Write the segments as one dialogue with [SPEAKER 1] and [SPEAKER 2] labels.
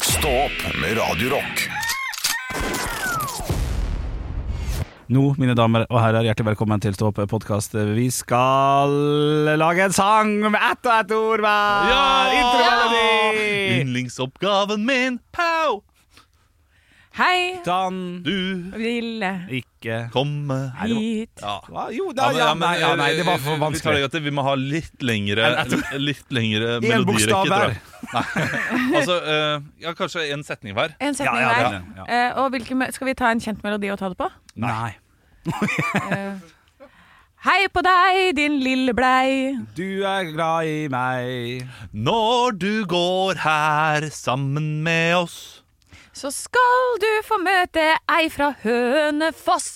[SPEAKER 1] Stå opp med Radio Rock.
[SPEAKER 2] Nå, mine damer og herrer, hjertelig velkommen til Stå opp-podkast. Vi skal lage en sang med ett og ett ord hver! Intromelodi!
[SPEAKER 3] Yndlingsoppgaven min, pow!
[SPEAKER 4] Hei,
[SPEAKER 2] Dan
[SPEAKER 3] Du
[SPEAKER 4] ville
[SPEAKER 2] Ikke
[SPEAKER 3] komme her.
[SPEAKER 4] hit.
[SPEAKER 3] Ja.
[SPEAKER 2] Hva? Jo, da, ja,
[SPEAKER 3] men- eh,
[SPEAKER 2] nei, ja, nei, det var
[SPEAKER 3] Vi tar
[SPEAKER 2] for
[SPEAKER 3] det
[SPEAKER 2] vanskelig.
[SPEAKER 3] godt til. Vi må ha litt lengre, litt lengre
[SPEAKER 2] En bokstav
[SPEAKER 3] melodirekke, tror jeg. Nei. altså, eh, ja, kanskje en setning hver.
[SPEAKER 4] En
[SPEAKER 2] Ja,
[SPEAKER 4] setning
[SPEAKER 2] ja,
[SPEAKER 4] hver.
[SPEAKER 2] ja,
[SPEAKER 4] Eh, og hvilke, me- skal vi ta en kjent melodi og ta det på?
[SPEAKER 2] Nei.
[SPEAKER 4] Hei på deg, din lille blei.
[SPEAKER 2] Du er glad i meg.
[SPEAKER 3] Når du går her sammen med oss
[SPEAKER 4] Så skal du få møte ei fra Hønefoss.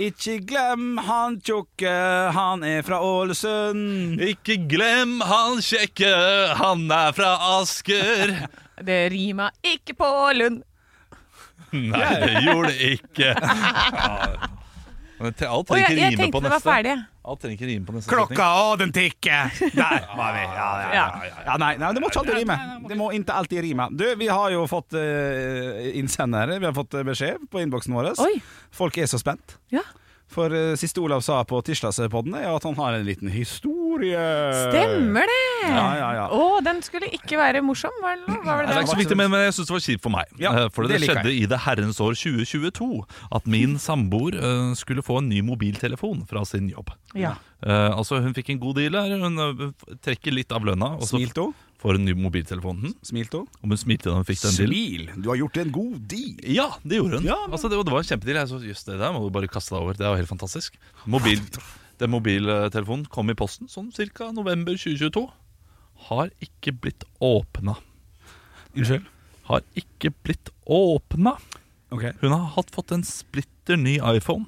[SPEAKER 2] Ikke glem han tjukke, han er fra Ålesund.
[SPEAKER 3] Ikke glem han kjekke, han er fra Asker.
[SPEAKER 4] Det rima ikke på Lund.
[SPEAKER 3] Nei, det gjorde det ikke. Ja. Men til- Alt
[SPEAKER 4] Å,
[SPEAKER 3] trenger
[SPEAKER 4] jeg,
[SPEAKER 3] ikke
[SPEAKER 4] jeg
[SPEAKER 3] rime på
[SPEAKER 4] tenkte det var
[SPEAKER 3] neste.
[SPEAKER 4] ferdig.
[SPEAKER 3] Alt trenger ikke rime på neste
[SPEAKER 2] Klokka og den tikker! Der var vi. Ja, ja, ja. ja nei, nei, det må ikke alltid rime. Det må ikke alltid rime. Du, vi har jo fått eh, innsendere. Vi har fått eh, beskjed på innboksen vår.
[SPEAKER 4] Oi.
[SPEAKER 2] Folk er så spent.
[SPEAKER 4] Ja.
[SPEAKER 2] For eh, siste Olav sa på tirsdagspodden, er jo at han har en liten historie.
[SPEAKER 4] Stemmer det!
[SPEAKER 3] Eh,
[SPEAKER 2] Ja, ja, ja.
[SPEAKER 4] Å, den skulle ikke være morsom, var det noe? Var
[SPEAKER 3] Det er
[SPEAKER 4] det
[SPEAKER 3] ikke
[SPEAKER 4] det?
[SPEAKER 3] så viktig, men men jeg synes det var kjipt for meg.
[SPEAKER 2] sånn- Ja,
[SPEAKER 3] Eh, for det,
[SPEAKER 2] det liker
[SPEAKER 3] skjedde i det herrens år 2022 at min samboer eh, skulle få en ny mobiltelefon fra sin jobb.
[SPEAKER 4] Ja.
[SPEAKER 3] Eh, altså Hun fikk en god deal her. Hun eh, trekker litt av lønna, og så
[SPEAKER 2] Smilte hun?
[SPEAKER 3] får hun ny mobiltelefon. Hm?
[SPEAKER 2] Smilte hun?
[SPEAKER 3] Om hun smilte da hun fikk den dealen?
[SPEAKER 2] Du har gjort en god deal.
[SPEAKER 3] Ja, det gjorde hun.
[SPEAKER 2] Ja, men-
[SPEAKER 3] altså, det, og det var en kjempedeal. Jeg så, Jøss, det der må du bare kaste deg over. Det er jo helt fantastisk. Mobil, den mobiltelefonen kom i posten sånn ca. november 2022. Har ikke blitt åpna.
[SPEAKER 2] Unnskyld?
[SPEAKER 3] Har ikke blitt åpna.
[SPEAKER 2] Ok.
[SPEAKER 3] Hun har hatt fått en splitter ny iPhone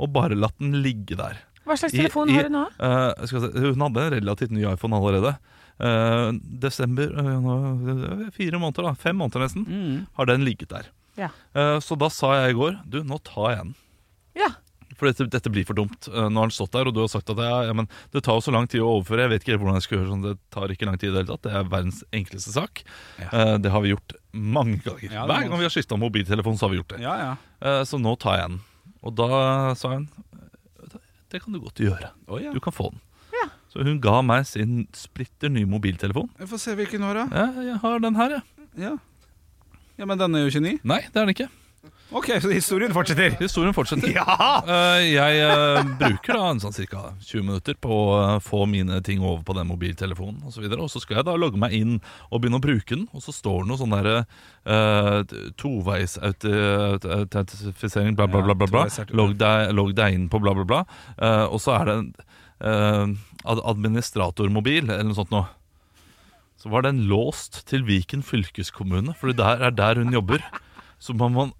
[SPEAKER 3] og bare latt den ligge der.
[SPEAKER 4] Hva slags
[SPEAKER 3] I-
[SPEAKER 4] telefon
[SPEAKER 3] i-
[SPEAKER 4] har du nå?
[SPEAKER 3] Eh, skal jeg si, hun hadde en relativt ny iPhone allerede. Eh, desember eh, nå- eh, Fire måneder, da. Fem måneder nesten.
[SPEAKER 2] Mm.
[SPEAKER 3] Har den ligget der.
[SPEAKER 4] Mm. Ja.
[SPEAKER 3] Eh, så da sa jeg i går Du, nå tar jeg den.
[SPEAKER 4] Ja.
[SPEAKER 3] For dette, dette blir for dumt. Eh, nå har den stått der, og du har sagt at ja, ja, men det tar jo så lang tid å overføre. Jeg vet ikke helt hvordan jeg skal gjøre sånn. Det tar ikke lang tid i det hele tatt. Det er verdens enkleste sak. Eh, det har vi gjort mange ganger.
[SPEAKER 2] Ja, det må-
[SPEAKER 3] Hver gang vi har skifta mobiltelefon, så har vi gjort det.
[SPEAKER 2] Ja, ja.
[SPEAKER 3] Eh, Så nå tar jeg den. Og da sa hun Det kan du godt gjøre.
[SPEAKER 2] Oi, ja.
[SPEAKER 3] Du kan få den.
[SPEAKER 4] Ja.
[SPEAKER 3] Så hun ga meg sin splitter nye mobiltelefon.
[SPEAKER 2] Jeg får se hvilken år, da.
[SPEAKER 3] Ja, jeg har den her, jeg.
[SPEAKER 2] Ja. ja, men den er jo ikke ny.
[SPEAKER 3] Nei, det er den ikke.
[SPEAKER 2] Ok, så historien fortsetter.
[SPEAKER 3] Historien fortsetter.
[SPEAKER 2] Ja!
[SPEAKER 3] Eh, Jeg eh, bruker da en sånn ca. 20 minutter på å eh, få mine ting over på den mobiltelefonen osv. Og, så videre. og så skal jeg da logge meg inn og begynne å bruke den, og så står det noe sånn derre uh, toveisautentifisering, bla, bla, bla. bla, bla.
[SPEAKER 2] Ja,
[SPEAKER 3] Logg, deg, logg deg inn på bla, bla, bla. Eh, og så er det en eh, ad administratormobil eller noe sånt noe. Så var den låst til Viken fylkeskommune, for det er der hun jobber. Så man, man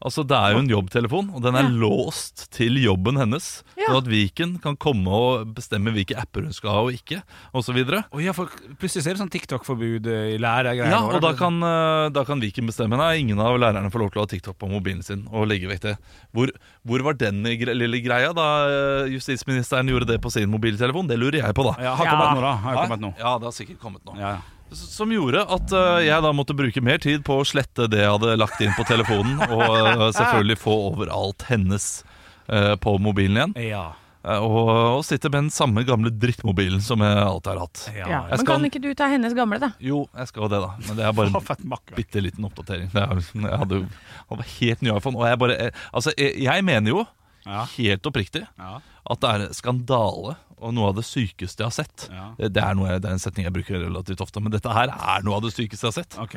[SPEAKER 3] Altså, Det er jo en jobbtelefon, og den er låst til jobben hennes. Sånn at Viken kan komme og bestemme hvilke apper hun skal ha og ikke, osv.
[SPEAKER 2] Å ja, for plutselig ser det sånn TikTok-forbud eh, i lærergreier.
[SPEAKER 3] Ja, og da kan, eh, da kan Viken bestemme. Nei, ingen av lærerne får lov til å ha TikTok på mobilen sin. og legge vekk det. Hvor, hvor var den gre lille greia da eh, justisministeren gjorde det på sin mobiltelefon? Det lurer jeg på, da.
[SPEAKER 2] ja, Har kommet nå, da. Har
[SPEAKER 3] Hæ?
[SPEAKER 2] kommet nå.
[SPEAKER 3] Ja, det har sikkert kommet nå.
[SPEAKER 2] Ja.
[SPEAKER 3] S- Som gjorde at eh, jeg da måtte bruke mer tid på å slette det jeg hadde lagt inn på telefonen, og eh, selvfølgelig få overalt hennes eh, på mobilen igjen.
[SPEAKER 2] Ja.
[SPEAKER 3] Eh, og, og sitte med den samme gamle drittmobilen som jeg alltid har hatt.
[SPEAKER 2] ja.
[SPEAKER 4] Ja.
[SPEAKER 3] Jeg
[SPEAKER 4] Men
[SPEAKER 3] skal-
[SPEAKER 4] kan ikke du ta hennes gamle, da?
[SPEAKER 3] Jo, jeg skal jo det, da. Men det er bare
[SPEAKER 2] Faen,
[SPEAKER 3] en
[SPEAKER 2] for et makkverk.
[SPEAKER 3] bitte liten oppdatering. Det er, jeg hadde jo hadde helt ny iPhone. Og jeg bare jeg, Altså, jeg, jeg mener jo,
[SPEAKER 2] Ja.
[SPEAKER 3] helt oppriktig,
[SPEAKER 2] Ja.
[SPEAKER 3] at det er skandale og noe av det sykeste jeg har sett.
[SPEAKER 2] Ja.
[SPEAKER 3] Det, det er noe jeg, det er en setning jeg bruker relativt ofte, men dette her er noe av det sykeste jeg har sett.
[SPEAKER 2] Ok.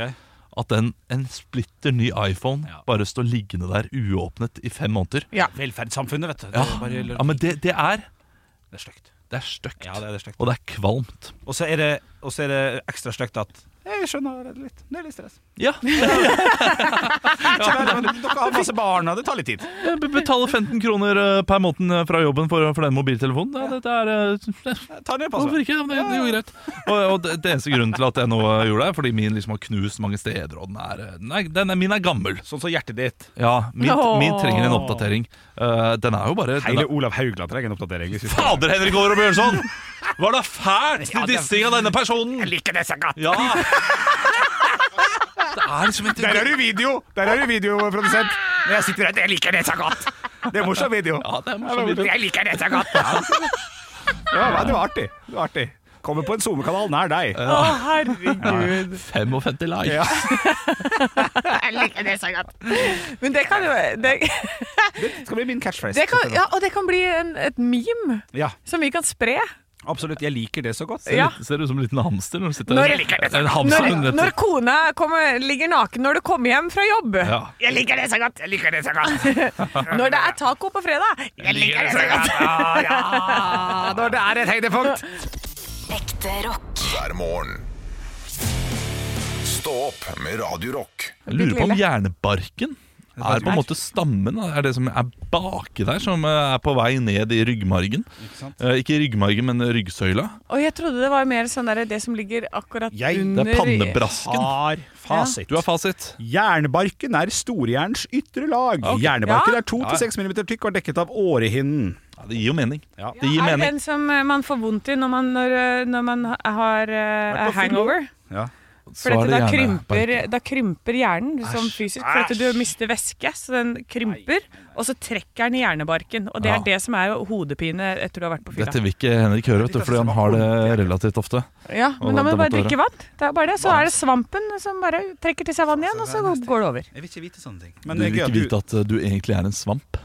[SPEAKER 3] At en, en splitter ny iPhone
[SPEAKER 2] Ja.
[SPEAKER 3] bare står liggende der uåpnet i fem måneder.
[SPEAKER 2] Velferdssamfunnet, vet du. Det
[SPEAKER 3] Ja,
[SPEAKER 2] er bare-
[SPEAKER 3] ja men det, det er
[SPEAKER 2] det er stygt.
[SPEAKER 3] Det er stygt.
[SPEAKER 2] Ja, det er det er stygt.
[SPEAKER 3] Og det er kvalmt.
[SPEAKER 2] Og så er det, og så er det ekstra stygt at Jeg skjønner det litt. Det er litt stress.
[SPEAKER 3] Ja,
[SPEAKER 2] Dere har masse barn, og det tar litt tid.
[SPEAKER 3] jeg be- betaler 15 kroner eh, per måned eh, fra jobben for, for den mobiltelefonen. Ja, dette er eh,
[SPEAKER 2] Ta ned
[SPEAKER 3] Hvorfor
[SPEAKER 2] passordet.
[SPEAKER 3] ikke? Det, det er jo greit. Og, og det, det eneste grunnen til at jeg nå eh, gjorde det, er fordi min liksom har knust mange steder, og den er, eh, den er, den er, min er gammel.
[SPEAKER 2] Sånn som hjertet ditt.
[SPEAKER 3] Ja, min,
[SPEAKER 4] Åh.
[SPEAKER 3] min trenger en oppdatering. Eh, den er jo bare den
[SPEAKER 2] Hele
[SPEAKER 3] er,
[SPEAKER 2] Olav Haugland trenger en oppdatering. hvis vi skal-
[SPEAKER 3] Fader, Henrik Over og Bjørnson! Var det fælt til dissing av denne personen?
[SPEAKER 2] liker det så godt!
[SPEAKER 3] Ja! Det er liksom et
[SPEAKER 2] Der er du video! Der er du videoprodusent. Men jeg sitter her, jeg liker det så godt! Det er morsom video.
[SPEAKER 3] Ja, det er morsom video.
[SPEAKER 2] Jeg liker det så godt! Ja, men det var artig. Det var artig. Kommer på en SoMe-kanal nær deg.
[SPEAKER 4] Å, herregud.
[SPEAKER 3] 55 likes.
[SPEAKER 2] Ja.
[SPEAKER 4] Jeg liker det så godt. Men det kan jo det,
[SPEAKER 2] Det skal bli min catchphrase.
[SPEAKER 4] det kan, ja, Og det kan bli en, et meme
[SPEAKER 2] Ja,
[SPEAKER 4] som vi kan spre.
[SPEAKER 2] absolutt. Jeg liker det så godt.
[SPEAKER 4] Ja.
[SPEAKER 3] Ser ut som en liten hamster når du sitter
[SPEAKER 4] Når jeg liker det.
[SPEAKER 3] En hamster, men
[SPEAKER 4] Når,
[SPEAKER 3] dette-
[SPEAKER 4] når kona kommer, ligger naken når du kommer hjem fra jobb.
[SPEAKER 3] ja.
[SPEAKER 2] Jeg liker det så godt! Jeg liker det så godt!
[SPEAKER 4] Når det er taco på fredag. Jeg liker det så godt.
[SPEAKER 2] Ja, når det er et høydepunkt.
[SPEAKER 5] Ekte rock.
[SPEAKER 1] hver morgen. Stå opp med Radio Rock.
[SPEAKER 3] Jeg lurer på om
[SPEAKER 4] Bitte lille.
[SPEAKER 3] hjernebarken er på en måte stammen, da. er det som er baki der, som eh, er på vei ned i ryggmargen. Eh, Ikke ryggmargen, men ryggsøyla.
[SPEAKER 4] Og jeg trodde det var mer sånn der, det som ligger akkurat
[SPEAKER 2] Jeg- det er
[SPEAKER 3] Det
[SPEAKER 4] under
[SPEAKER 3] er pannebrasken.
[SPEAKER 2] Har fasit.
[SPEAKER 3] Du har fasit.
[SPEAKER 2] Jernbarken er storjerns ytre lag. Jernbarken
[SPEAKER 4] Ja.
[SPEAKER 2] er 2-6 mm tykk og er dekket av årehinnen.
[SPEAKER 3] Ja, det gir jo mening.
[SPEAKER 2] Ja.
[SPEAKER 3] Det gir
[SPEAKER 4] Er
[SPEAKER 3] mening.
[SPEAKER 4] den som eh, man får vondt i når man, når, eh, når man ha- har
[SPEAKER 2] Vært
[SPEAKER 4] eh,
[SPEAKER 2] på fylla.
[SPEAKER 4] hangover?
[SPEAKER 2] Ja.
[SPEAKER 3] Så
[SPEAKER 4] For
[SPEAKER 3] er
[SPEAKER 4] dette,
[SPEAKER 3] det
[SPEAKER 4] da,
[SPEAKER 3] hjernebarken.
[SPEAKER 4] krymper, da krymper hjernen sånn fysisk, for at du mister væske, så den krymper, og så trekker den i hjernebarken. Og det
[SPEAKER 3] Ja.
[SPEAKER 4] er det som er hodepine etter du har vært på fylla.
[SPEAKER 3] Dette vil ikke Henrik høre, vet du, fordi han har det relativt ofte.
[SPEAKER 4] Ja, men da må
[SPEAKER 3] det
[SPEAKER 4] du bare
[SPEAKER 3] måtte
[SPEAKER 4] drikke vann. Det er bare det. Så er det svampen som bare trekker til seg vann igjen, og så går det over.
[SPEAKER 2] Jeg vil ikke vite sånne ting.
[SPEAKER 3] Du vil ikke vite at eh, du egentlig er en svamp.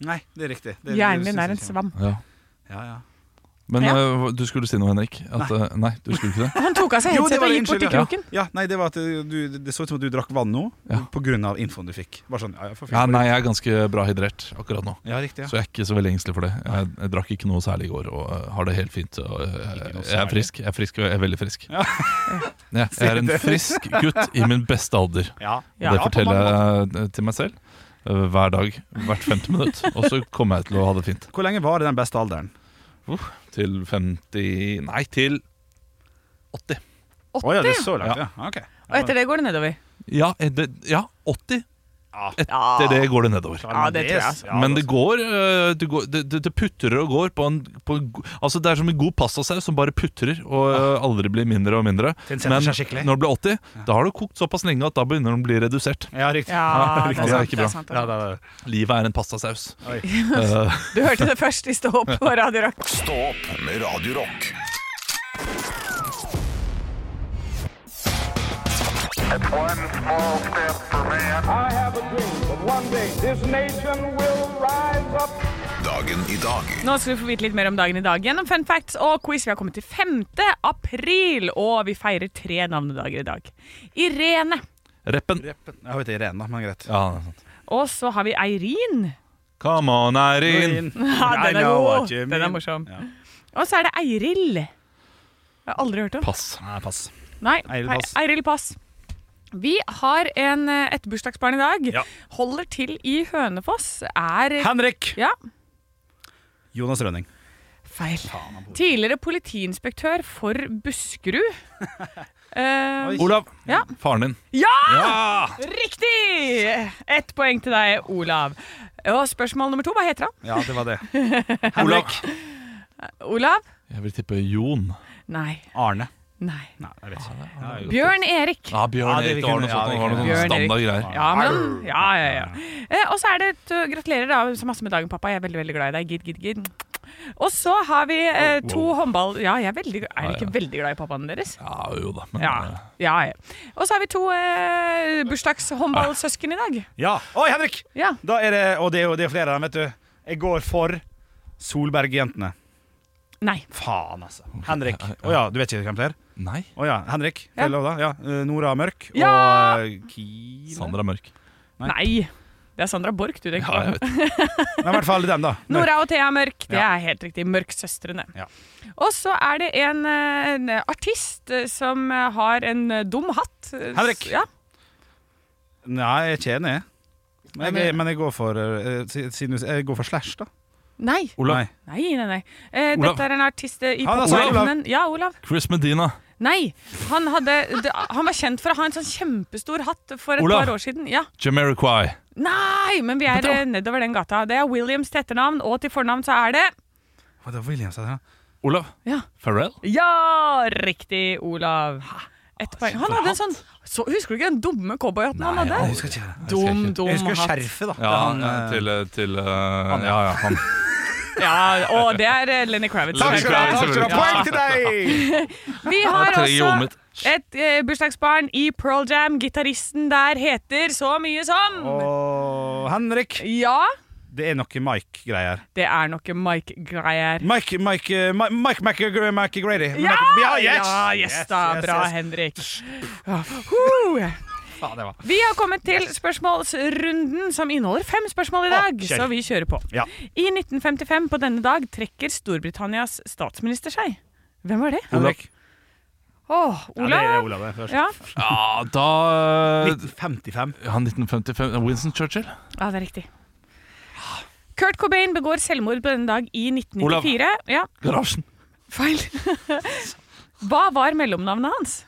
[SPEAKER 2] Nei, det er riktig. Det-
[SPEAKER 4] Hjernen
[SPEAKER 2] det
[SPEAKER 4] din
[SPEAKER 2] synes
[SPEAKER 4] er en
[SPEAKER 2] jeg ikke.
[SPEAKER 4] svamp.
[SPEAKER 3] Ja.
[SPEAKER 2] Ja, ja.
[SPEAKER 3] Men
[SPEAKER 4] Ja.
[SPEAKER 3] eh, du skulle si noe, Henrik. At, nei. nei, du skulle ikke det.
[SPEAKER 4] Han tok av seg
[SPEAKER 2] Jo, det
[SPEAKER 4] headsetet
[SPEAKER 2] var
[SPEAKER 4] og
[SPEAKER 2] det,
[SPEAKER 4] gikk bort til
[SPEAKER 2] unnskyld,
[SPEAKER 4] kroken.
[SPEAKER 2] Ja, nei, det var at du, det så ut som at du drakk vann nå,
[SPEAKER 3] Ja.
[SPEAKER 2] på grunn av infoen du fikk. Bare sånn, ja, jeg får
[SPEAKER 3] Ja,
[SPEAKER 2] fikk
[SPEAKER 3] nei, jeg er ganske bra hydrert akkurat nå.
[SPEAKER 2] det. Ja, riktig, ja.
[SPEAKER 3] Så jeg er ikke så veldig engstelig for det. Jeg, jeg drakk ikke noe særlig i går og øh, har det helt fint. Og, øh,
[SPEAKER 2] noe
[SPEAKER 3] jeg er
[SPEAKER 2] særlig.
[SPEAKER 3] frisk. Jeg er, frisk, og jeg er veldig frisk. Ja, jeg er en frisk gutt i min beste alder.
[SPEAKER 2] Ja.
[SPEAKER 3] Og
[SPEAKER 2] Ja,
[SPEAKER 3] det
[SPEAKER 2] på
[SPEAKER 3] forteller
[SPEAKER 2] mange måter.
[SPEAKER 3] jeg øh, til meg selv øh, hver dag, hvert femte minutt. Og så kommer jeg til å ha det fint.
[SPEAKER 2] Hvor lenge var det den beste alderen?
[SPEAKER 3] Til 50 Nei, til 80.
[SPEAKER 2] Å ja, det er
[SPEAKER 4] 80.
[SPEAKER 2] så langt, ja. Ok.
[SPEAKER 4] Og etter det går det nedover.
[SPEAKER 3] Ja, eh, det, ja 80.
[SPEAKER 2] Ja.
[SPEAKER 3] Etter det går det nedover.
[SPEAKER 4] Ja, det tror jeg, altså.
[SPEAKER 2] Ja,
[SPEAKER 3] Men det går, øh, det, går det, det, det putrer og går på en, på en go- Altså Det er som en god pastasaus som bare putrer og øh, aldri blir mindre og mindre.
[SPEAKER 2] Den setter
[SPEAKER 3] Men
[SPEAKER 2] seg skikkelig.
[SPEAKER 3] når det blir 80, da har det kokt såpass lenge at da begynner den å bli redusert.
[SPEAKER 2] Ja, riktig.
[SPEAKER 3] riktig.
[SPEAKER 4] Ja, det er
[SPEAKER 3] Altså, ikke
[SPEAKER 4] sant, det
[SPEAKER 3] bra.
[SPEAKER 4] er sant. det er sant.
[SPEAKER 3] Livet er en pastasaus.
[SPEAKER 2] Oi.
[SPEAKER 3] Eh,
[SPEAKER 4] Du hørte det først i Stå opp på Radio Rock.
[SPEAKER 1] Stå opp med Radio Rock.
[SPEAKER 6] I have a dream that one day this nation will rise up.
[SPEAKER 1] Dagen i dag
[SPEAKER 4] Nå skal du få vite litt mer om dagen i dag gjennom fun facts og quiz. Vi har kommet til 5. april, og vi feirer tre navnedager i dag. Irene.
[SPEAKER 3] reppen.
[SPEAKER 2] Jeg heter Irene, men greit.
[SPEAKER 3] Ja, det er sant.
[SPEAKER 4] Og så har vi Eirin.
[SPEAKER 3] Come on, Eirin.
[SPEAKER 4] Ja, den
[SPEAKER 2] I
[SPEAKER 4] er
[SPEAKER 2] know
[SPEAKER 4] god.
[SPEAKER 2] what you
[SPEAKER 4] Den er
[SPEAKER 2] mean.
[SPEAKER 4] morsom.
[SPEAKER 2] Ja.
[SPEAKER 4] Og så er det Eiril. Jeg har aldri hørt om.
[SPEAKER 3] Pass.
[SPEAKER 2] Nei, pass.
[SPEAKER 4] Nei,
[SPEAKER 2] Eiril Pass.
[SPEAKER 4] Eiril Pass. Vi har en, eh, et bursdagsbarn i dag.
[SPEAKER 2] Ja.
[SPEAKER 4] Holder til i Hønefoss. Er
[SPEAKER 2] Henrik!
[SPEAKER 4] Ja,
[SPEAKER 2] Jonas Rønning.
[SPEAKER 4] feil. Tidligere politiinspektør for Buskerud. Eh,
[SPEAKER 3] Olav,
[SPEAKER 4] Ja.
[SPEAKER 3] faren din.
[SPEAKER 4] ja!
[SPEAKER 3] Ja!
[SPEAKER 4] Riktig! Ett poeng til deg, Olav. Og spørsmål nummer to. Hva heter han?
[SPEAKER 2] Ja, det var det.
[SPEAKER 3] Olav.
[SPEAKER 4] Olav?
[SPEAKER 3] Jeg vil tippe Jon.
[SPEAKER 4] Nei.
[SPEAKER 2] Arne.
[SPEAKER 4] Nei.
[SPEAKER 2] Nei, jeg vet ikke.
[SPEAKER 4] Bjørn Erik.
[SPEAKER 3] Ja, Bjørn
[SPEAKER 2] Ja, det
[SPEAKER 3] Erik.
[SPEAKER 2] vil
[SPEAKER 3] Det var noe sånn
[SPEAKER 2] kunne-
[SPEAKER 3] sånt.
[SPEAKER 2] ja, det
[SPEAKER 3] Det var
[SPEAKER 2] kunne-
[SPEAKER 3] noen
[SPEAKER 4] Bjørn Erik.
[SPEAKER 3] standardgreier.
[SPEAKER 4] Ja, men, ja, ja, ja. Eh, og så er det et, uh, Gratulerer da, så masse med dagen, pappa. Jeg er veldig veldig glad i deg. Gid, gid, gid. Og så har vi eh, to håndball... Ja, jeg er, veldig, er dere ikke veldig glad i pappaen deres?
[SPEAKER 3] Ja, jo da. Men,
[SPEAKER 4] Ja.
[SPEAKER 3] eh,
[SPEAKER 4] ja, ja. Og så har vi to eh, bursdagshåndballsøsken i dag.
[SPEAKER 2] Ja. Oi, Henrik!
[SPEAKER 4] Ja.
[SPEAKER 2] Da er det, og det er jo det er flere av dem, vet du. Jeg går for Solberg-jentene.
[SPEAKER 4] Nei.
[SPEAKER 2] Faen, altså. Henrik. Å ja, du vet ikke hvem det er?
[SPEAKER 3] Nei.
[SPEAKER 2] Å ja, Henrik. Får
[SPEAKER 4] Ja.
[SPEAKER 2] jeg lov, da? Ja. eh, Nora Mørk
[SPEAKER 4] Ja!
[SPEAKER 2] og eh, Kine
[SPEAKER 3] Sandra Mørk.
[SPEAKER 4] Nei. Det er Sandra Borch du tenker
[SPEAKER 3] Ja,
[SPEAKER 4] på.
[SPEAKER 3] jeg vet.
[SPEAKER 2] Men i hvert fall dem, da.
[SPEAKER 4] Nora og Thea Mørk, det
[SPEAKER 2] Ja.
[SPEAKER 4] er helt riktig. Mørksøstrene.
[SPEAKER 2] Ja.
[SPEAKER 4] Og så er det en, eh, en artist eh, som eh, har en eh, dum hatt. Eh,
[SPEAKER 2] Henrik.
[SPEAKER 4] s- Ja.
[SPEAKER 2] Nei, jeg er ikke enig. Men jeg, men jeg går for eh, si- siden du- Jeg går for Slash, da.
[SPEAKER 4] Nei.
[SPEAKER 3] Olav.
[SPEAKER 2] Nei.
[SPEAKER 4] Nei, nei, nei. Eh,
[SPEAKER 3] Olav.
[SPEAKER 4] dette er en artist eh, i
[SPEAKER 2] Ja, da sa jeg Olav.
[SPEAKER 4] popverdenen. Ja, Olav.
[SPEAKER 3] Chris Medina.
[SPEAKER 4] Nei. Han, hadde, det, han var kjent for å ha en sånn kjempestor hatt for et
[SPEAKER 3] Olav.
[SPEAKER 4] par år siden. Ja.
[SPEAKER 3] Jamiroquai.
[SPEAKER 4] Nei, men vi er eh, nedover den gata. Det er Williams til etternavn, og til fornavn så er det
[SPEAKER 2] Hva det var Williams, sa det, da?
[SPEAKER 3] Olav.
[SPEAKER 4] Ja.
[SPEAKER 3] Pharrell.
[SPEAKER 4] Ja, riktig, Olav. Ett poeng. Han hadde en sånn så, Husker du ikke den dumme cowboyhatten han hadde?
[SPEAKER 2] Jeg husker ikke det.
[SPEAKER 4] Dum, dum
[SPEAKER 2] Jeg husker
[SPEAKER 4] hatt.
[SPEAKER 2] skjerfet, da.
[SPEAKER 3] Ja,
[SPEAKER 2] Han,
[SPEAKER 3] ja,
[SPEAKER 2] eh,
[SPEAKER 3] til, eh, til eh, Ja, ja, han.
[SPEAKER 4] Ja, og det er eh, Lenny Kravitz.
[SPEAKER 3] Lenny
[SPEAKER 2] Takk skal du ha! takk skal du ha. Poeng til deg!
[SPEAKER 4] Vi
[SPEAKER 3] Jeg
[SPEAKER 4] har
[SPEAKER 3] trenger hodet
[SPEAKER 4] også
[SPEAKER 3] mitt.
[SPEAKER 4] et eh, bursdagsbarn i Pearl Jam. Gitaristen der heter så mye som
[SPEAKER 2] Og Henrik,
[SPEAKER 4] Ja,
[SPEAKER 2] det er noe Mike-greier.
[SPEAKER 4] det er noe Mike-greier.
[SPEAKER 2] Mike Mike, eh, Mi- Mike, Mike, Mike, Mike Grady.
[SPEAKER 4] Ja!
[SPEAKER 2] ja, yes!
[SPEAKER 4] ja, yes da.
[SPEAKER 2] yes,
[SPEAKER 4] Bra,
[SPEAKER 2] yes.
[SPEAKER 4] Henrik. Ja. Huh.
[SPEAKER 2] Ja, det var.
[SPEAKER 4] Vi har kommet til spørsmålsrunden, som inneholder fem spørsmål i dag.
[SPEAKER 2] kjør.
[SPEAKER 4] Så vi kjører på.
[SPEAKER 2] Ja.
[SPEAKER 4] I 1955 på denne dag trekker Storbritannias statsminister seg. Hvem var det?
[SPEAKER 2] Henrik.
[SPEAKER 4] Åh,
[SPEAKER 2] Ja, det er
[SPEAKER 4] Olav?
[SPEAKER 2] Olav det først.
[SPEAKER 4] Ja,
[SPEAKER 3] Ja, da eh,
[SPEAKER 2] 1955.
[SPEAKER 3] ja, 1955. eh, Winston Churchill.
[SPEAKER 4] Ja, det er riktig. Kurt Cobain begår selvmord på denne dag i 1994. Ja,
[SPEAKER 3] Garasjen.
[SPEAKER 4] feil. Hva var mellomnavnet hans?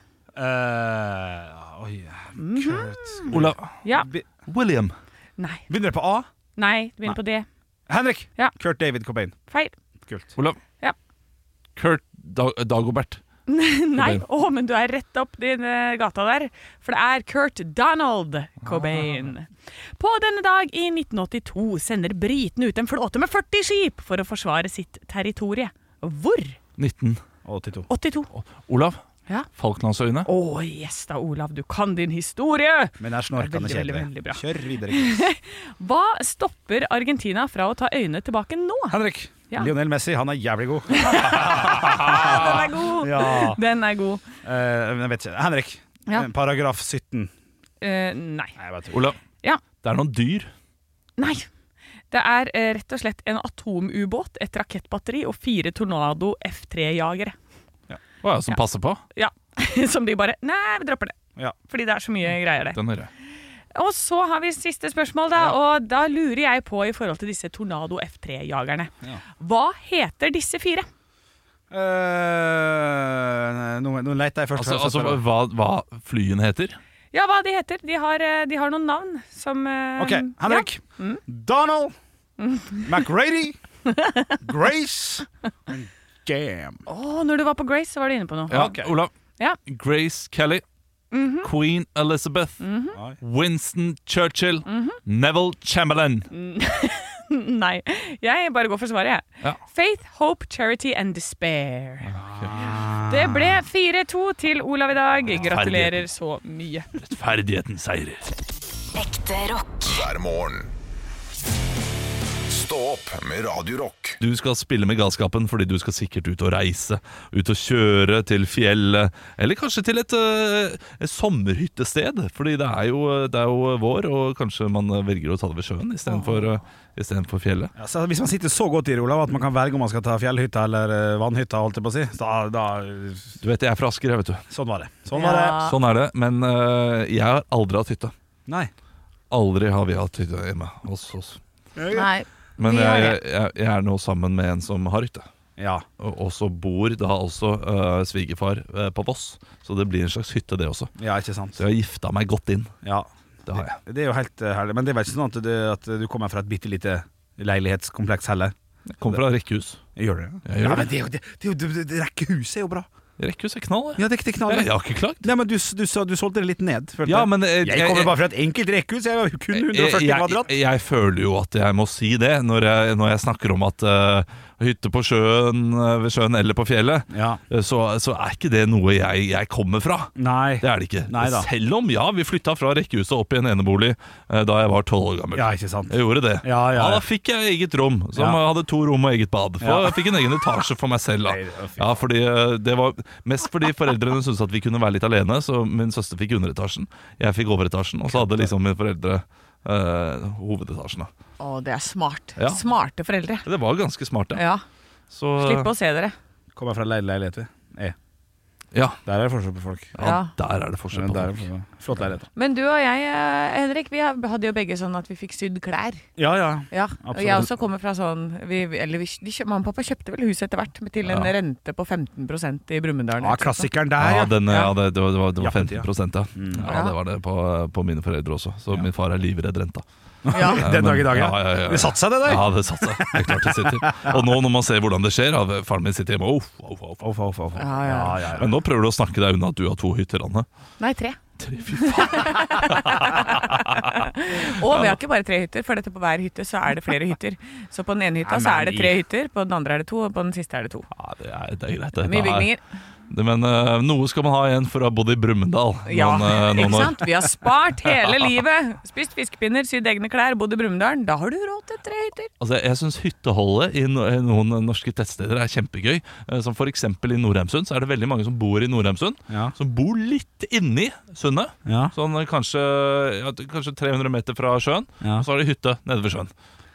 [SPEAKER 2] Eh, oi
[SPEAKER 3] Mhm.
[SPEAKER 2] Kurt
[SPEAKER 3] Olav.
[SPEAKER 4] Ja.
[SPEAKER 2] Be-
[SPEAKER 3] William.
[SPEAKER 4] Nei.
[SPEAKER 2] Begynner det på A?
[SPEAKER 4] Nei, det begynner på D.
[SPEAKER 2] Henrik!
[SPEAKER 4] Ja.
[SPEAKER 2] Kurt David Cobain.
[SPEAKER 4] Feil.
[SPEAKER 2] Kult.
[SPEAKER 3] Olav.
[SPEAKER 4] Ja.
[SPEAKER 3] Kurt da Dagobert.
[SPEAKER 4] Nei, å, men du er rett opp din eh, gata der. For det er Kurt Donald Cobain. På denne dag i 1982 sender britene ut en flåte med 40 skip for å forsvare sitt territorie. Hvor?
[SPEAKER 3] 19.
[SPEAKER 2] 82.
[SPEAKER 4] 82. Å,
[SPEAKER 3] Olav.
[SPEAKER 4] Ja.
[SPEAKER 3] Falklandsøyene.
[SPEAKER 4] yes da, Olav. Du kan din historie!
[SPEAKER 2] Men er
[SPEAKER 4] Det
[SPEAKER 2] snorkende
[SPEAKER 4] er veldig, veldig
[SPEAKER 2] kjedelig.
[SPEAKER 4] bra.
[SPEAKER 2] Kjør videre. Chris.
[SPEAKER 4] Hva stopper Argentina fra å ta øynene tilbake nå?
[SPEAKER 2] Henrik.
[SPEAKER 4] Ja.
[SPEAKER 2] Lionel Messi, han er jævlig god.
[SPEAKER 4] Den er god!
[SPEAKER 2] Ja.
[SPEAKER 4] Den er god.
[SPEAKER 2] Eh, men jeg vet ikke. Henrik.
[SPEAKER 4] Ja.
[SPEAKER 2] Eh, Paragraf 17.
[SPEAKER 4] Eh, nei.
[SPEAKER 2] Nei, jeg bare tuller.
[SPEAKER 3] Olav.
[SPEAKER 4] Ja.
[SPEAKER 3] Det er noen dyr.
[SPEAKER 4] Nei. Det er eh, rett og slett en atomubåt, et rakettbatteri og fire Tornado F3-jagere.
[SPEAKER 3] Å, ja, som passer på.
[SPEAKER 4] Ja. Som de bare Nei, vi dropper det.
[SPEAKER 2] Ja.
[SPEAKER 4] Fordi det er så mye greier der.
[SPEAKER 3] Den hører jeg.
[SPEAKER 4] Og så har vi siste spørsmål, da. Og da lurer jeg på i forhold til disse Tornado F3-jagerne.
[SPEAKER 2] Ja.
[SPEAKER 4] Hva heter disse fire?
[SPEAKER 2] Eh, nå, nå leter jeg først.
[SPEAKER 3] Altså, altså hva, hva flyen heter.
[SPEAKER 4] Ja, hva de heter? De har, eh, de har noen navn som eh,
[SPEAKER 2] OK, Henrik.
[SPEAKER 4] Mm.
[SPEAKER 2] Donald. McRady. Grace. Jam.
[SPEAKER 4] Å, når du var på Grace, så var du inne på noe.
[SPEAKER 3] Ja,
[SPEAKER 2] Ok.
[SPEAKER 3] Olav.
[SPEAKER 4] Ja. Mhm.
[SPEAKER 3] Grace Kelly. Queen Elizabeth.
[SPEAKER 2] Oi.
[SPEAKER 3] Winston Churchill.
[SPEAKER 4] Mhm.
[SPEAKER 3] Neville Chamberlain.
[SPEAKER 4] Nei, jeg bare går for svaret, jeg.
[SPEAKER 3] Ja.
[SPEAKER 4] Faith, hope, charity and despair. Det ble 4-2 til Olav i dag. Gratulerer så mye.
[SPEAKER 3] Rettferdigheten seirer.
[SPEAKER 5] Ekte rock.
[SPEAKER 1] hver morgen. Stå opp med Radio Rock.
[SPEAKER 3] Du skal spille med galskapen fordi du skal sikkert ut og reise. Ut og kjøre til fjellet, eller kanskje til et, eh, et sommerhyttested. Fordi det er, jo, det er jo vår, og kanskje man velger å ta det ved sjøen istedenfor for fjellet.
[SPEAKER 2] Ja, så Altså, hvis man sitter så godt i det, Olav, at man kan velge om man skal ta fjellhytta eller eh, vannhytta, holdt jeg på å si, da, da
[SPEAKER 3] Du vet, jeg er fra Asker, jeg, vet du.
[SPEAKER 2] Sånn var det. Sånn var det.
[SPEAKER 4] Ja.
[SPEAKER 3] Sånn er det. Men eh, jeg har aldri hatt hytte.
[SPEAKER 2] Nei.
[SPEAKER 3] Aldri har vi hatt hytte hjemme hos oss.
[SPEAKER 4] Nei.
[SPEAKER 3] Men
[SPEAKER 4] Vi har
[SPEAKER 3] jeg, jeg, jeg er nå sammen med en som har hytte.
[SPEAKER 2] Ja.
[SPEAKER 3] Og og så bor da altså eh, svigerfar eh, på Voss, så det blir en slags hytte, det også.
[SPEAKER 2] ja, ikke sant.
[SPEAKER 3] Så jeg har gifta meg godt inn.
[SPEAKER 2] Ja.
[SPEAKER 3] Det har jeg.
[SPEAKER 2] Det er jo helt eh, herlig. Men det er vel ikke sånn at du, at du kommer fra et bitte lite leilighetskompleks heller?
[SPEAKER 3] jeg kommer fra rekkehus.
[SPEAKER 2] Gjør du det?
[SPEAKER 3] Jeg gjør
[SPEAKER 2] Nei,
[SPEAKER 3] det.
[SPEAKER 2] men det, er jo- det, det, er jo- det, det Rekkehuset er jo bra.
[SPEAKER 3] Rekkehus er knall, jeg.
[SPEAKER 2] Ja, det er ikke det
[SPEAKER 3] Jeg,
[SPEAKER 2] knallet.
[SPEAKER 3] jeg har ikke klagd.
[SPEAKER 2] Nei, men du, du, sa- du solgte det litt ned. følte
[SPEAKER 3] Ja,
[SPEAKER 2] jeg.
[SPEAKER 3] men eh,
[SPEAKER 2] jeg kommer bare fra et enkelt rekkehus. Jeg var jo kun 140
[SPEAKER 3] jeg,
[SPEAKER 2] kvadrat.
[SPEAKER 3] jeg, jeg føler jo at jeg må si det når jeg, når jeg snakker om at eh, hytte på sjøen, eh, ved sjøen eller på fjellet,
[SPEAKER 2] Ja.
[SPEAKER 3] eh, så, så er ikke det noe jeg, jeg kommer fra.
[SPEAKER 2] Nei.
[SPEAKER 3] Det er det ikke.
[SPEAKER 2] Nei da.
[SPEAKER 3] Selv om, ja, vi flytta fra rekkehuset opp i en enebolig eh, da jeg var tolv år gammel.
[SPEAKER 2] Ja, ikke sant.
[SPEAKER 3] Jeg gjorde det.
[SPEAKER 2] Ja, ja, ja.
[SPEAKER 3] da fikk jeg eget rom, som
[SPEAKER 2] Ja.
[SPEAKER 3] hadde to rom og eget bad. For
[SPEAKER 2] Ja.
[SPEAKER 3] Jeg fikk en egen etasje for meg selv.
[SPEAKER 2] Nei, det
[SPEAKER 3] da
[SPEAKER 2] var fint.
[SPEAKER 3] ja, fordi eh, Det var mest fordi foreldrene syntes at vi kunne være litt alene, så min søster fikk underetasjen. Jeg fikk overetasjen, og så hadde liksom mine foreldre eh, hovedetasjen. da.
[SPEAKER 4] Å, det er smart.
[SPEAKER 3] Ja.
[SPEAKER 4] Smarte foreldre.
[SPEAKER 3] Det var ganske smart, det.
[SPEAKER 4] Ja.
[SPEAKER 3] Så,
[SPEAKER 4] Slipp å se dere.
[SPEAKER 2] Kommer fra leil- leilighet, vi. E.
[SPEAKER 3] Ja,
[SPEAKER 2] Der er det forskjell på folk.
[SPEAKER 3] ja,
[SPEAKER 4] Ja.
[SPEAKER 3] der er det
[SPEAKER 2] Men
[SPEAKER 3] forskjell. på
[SPEAKER 2] der er det
[SPEAKER 3] folk.
[SPEAKER 2] forskjell på- Flott leilighet.
[SPEAKER 4] Men du og jeg, eh, Henrik, vi hadde jo begge sånn at vi fikk sydd klær.
[SPEAKER 2] Ja, ja.
[SPEAKER 4] Ja, og jeg
[SPEAKER 2] Absolutt.
[SPEAKER 4] også kommer fra sånn vi, eller vi, de, kjø- Mamma og pappa kjøpte vel huset etter hvert, men til en
[SPEAKER 3] Ja.
[SPEAKER 4] rente på 15 i Brumunddal.
[SPEAKER 2] Ah, klassikeren der,
[SPEAKER 3] Ja,
[SPEAKER 2] ja.
[SPEAKER 3] den, eh, ja det, det, var, det, var, det var
[SPEAKER 2] Jappetida.
[SPEAKER 3] 15 ja.
[SPEAKER 2] Mm.
[SPEAKER 3] ja.
[SPEAKER 4] Ja.
[SPEAKER 3] Det var det på, på mine foreldre også. Så min far er livredd renta.
[SPEAKER 4] Ja.
[SPEAKER 2] Den dag i dag, ja.
[SPEAKER 3] eh, Ja, ja, ja, ja.
[SPEAKER 2] Det satte seg, det der.
[SPEAKER 3] Ja, det satt seg. Det er klart det sitter. Og nå når man ser hvordan det skjer, ja, faren min sitter hjemme oh, oh, oh, oh.
[SPEAKER 2] Off, off, off.
[SPEAKER 4] Ja, ja.
[SPEAKER 3] Men nå prøver du å snakke deg unna at du har to hytter, Anne.
[SPEAKER 4] Nei, tre.
[SPEAKER 3] Tre, fy faen.
[SPEAKER 4] Og vi har ikke bare tre hytter, for dette på hver hytte så er det flere hytter. Så på den ene hytta så er det tre hytter, på den andre er det to, og på den siste er det to.
[SPEAKER 3] Ja, det, er, det er greit. Det,
[SPEAKER 4] Mye bygninger.
[SPEAKER 3] Det, men eh, noe skal man ha igjen for å ha bodd i Brumunddal
[SPEAKER 4] Ja,
[SPEAKER 3] noen, eh, noen
[SPEAKER 4] ikke
[SPEAKER 3] år.
[SPEAKER 4] sant? Vi har spart hele livet. Spist fiskepinner, sydd egne klær, bodd i Brumunddal. Da har du råd til tre hytter.
[SPEAKER 3] Altså, jeg syns hytteholdet i no i noen norske tettsteder er kjempegøy. Eh, Som f.eks. i Nordheimsund. Så er det veldig mange som bor i Nordheimsund.
[SPEAKER 2] Ja.
[SPEAKER 3] Som bor litt inni sundet.
[SPEAKER 2] Ja.
[SPEAKER 3] Sånn eh, kanskje, ja, kanskje 300 meter fra sjøen.
[SPEAKER 2] Ja.
[SPEAKER 3] Og så har de hytte nede ved sjøen.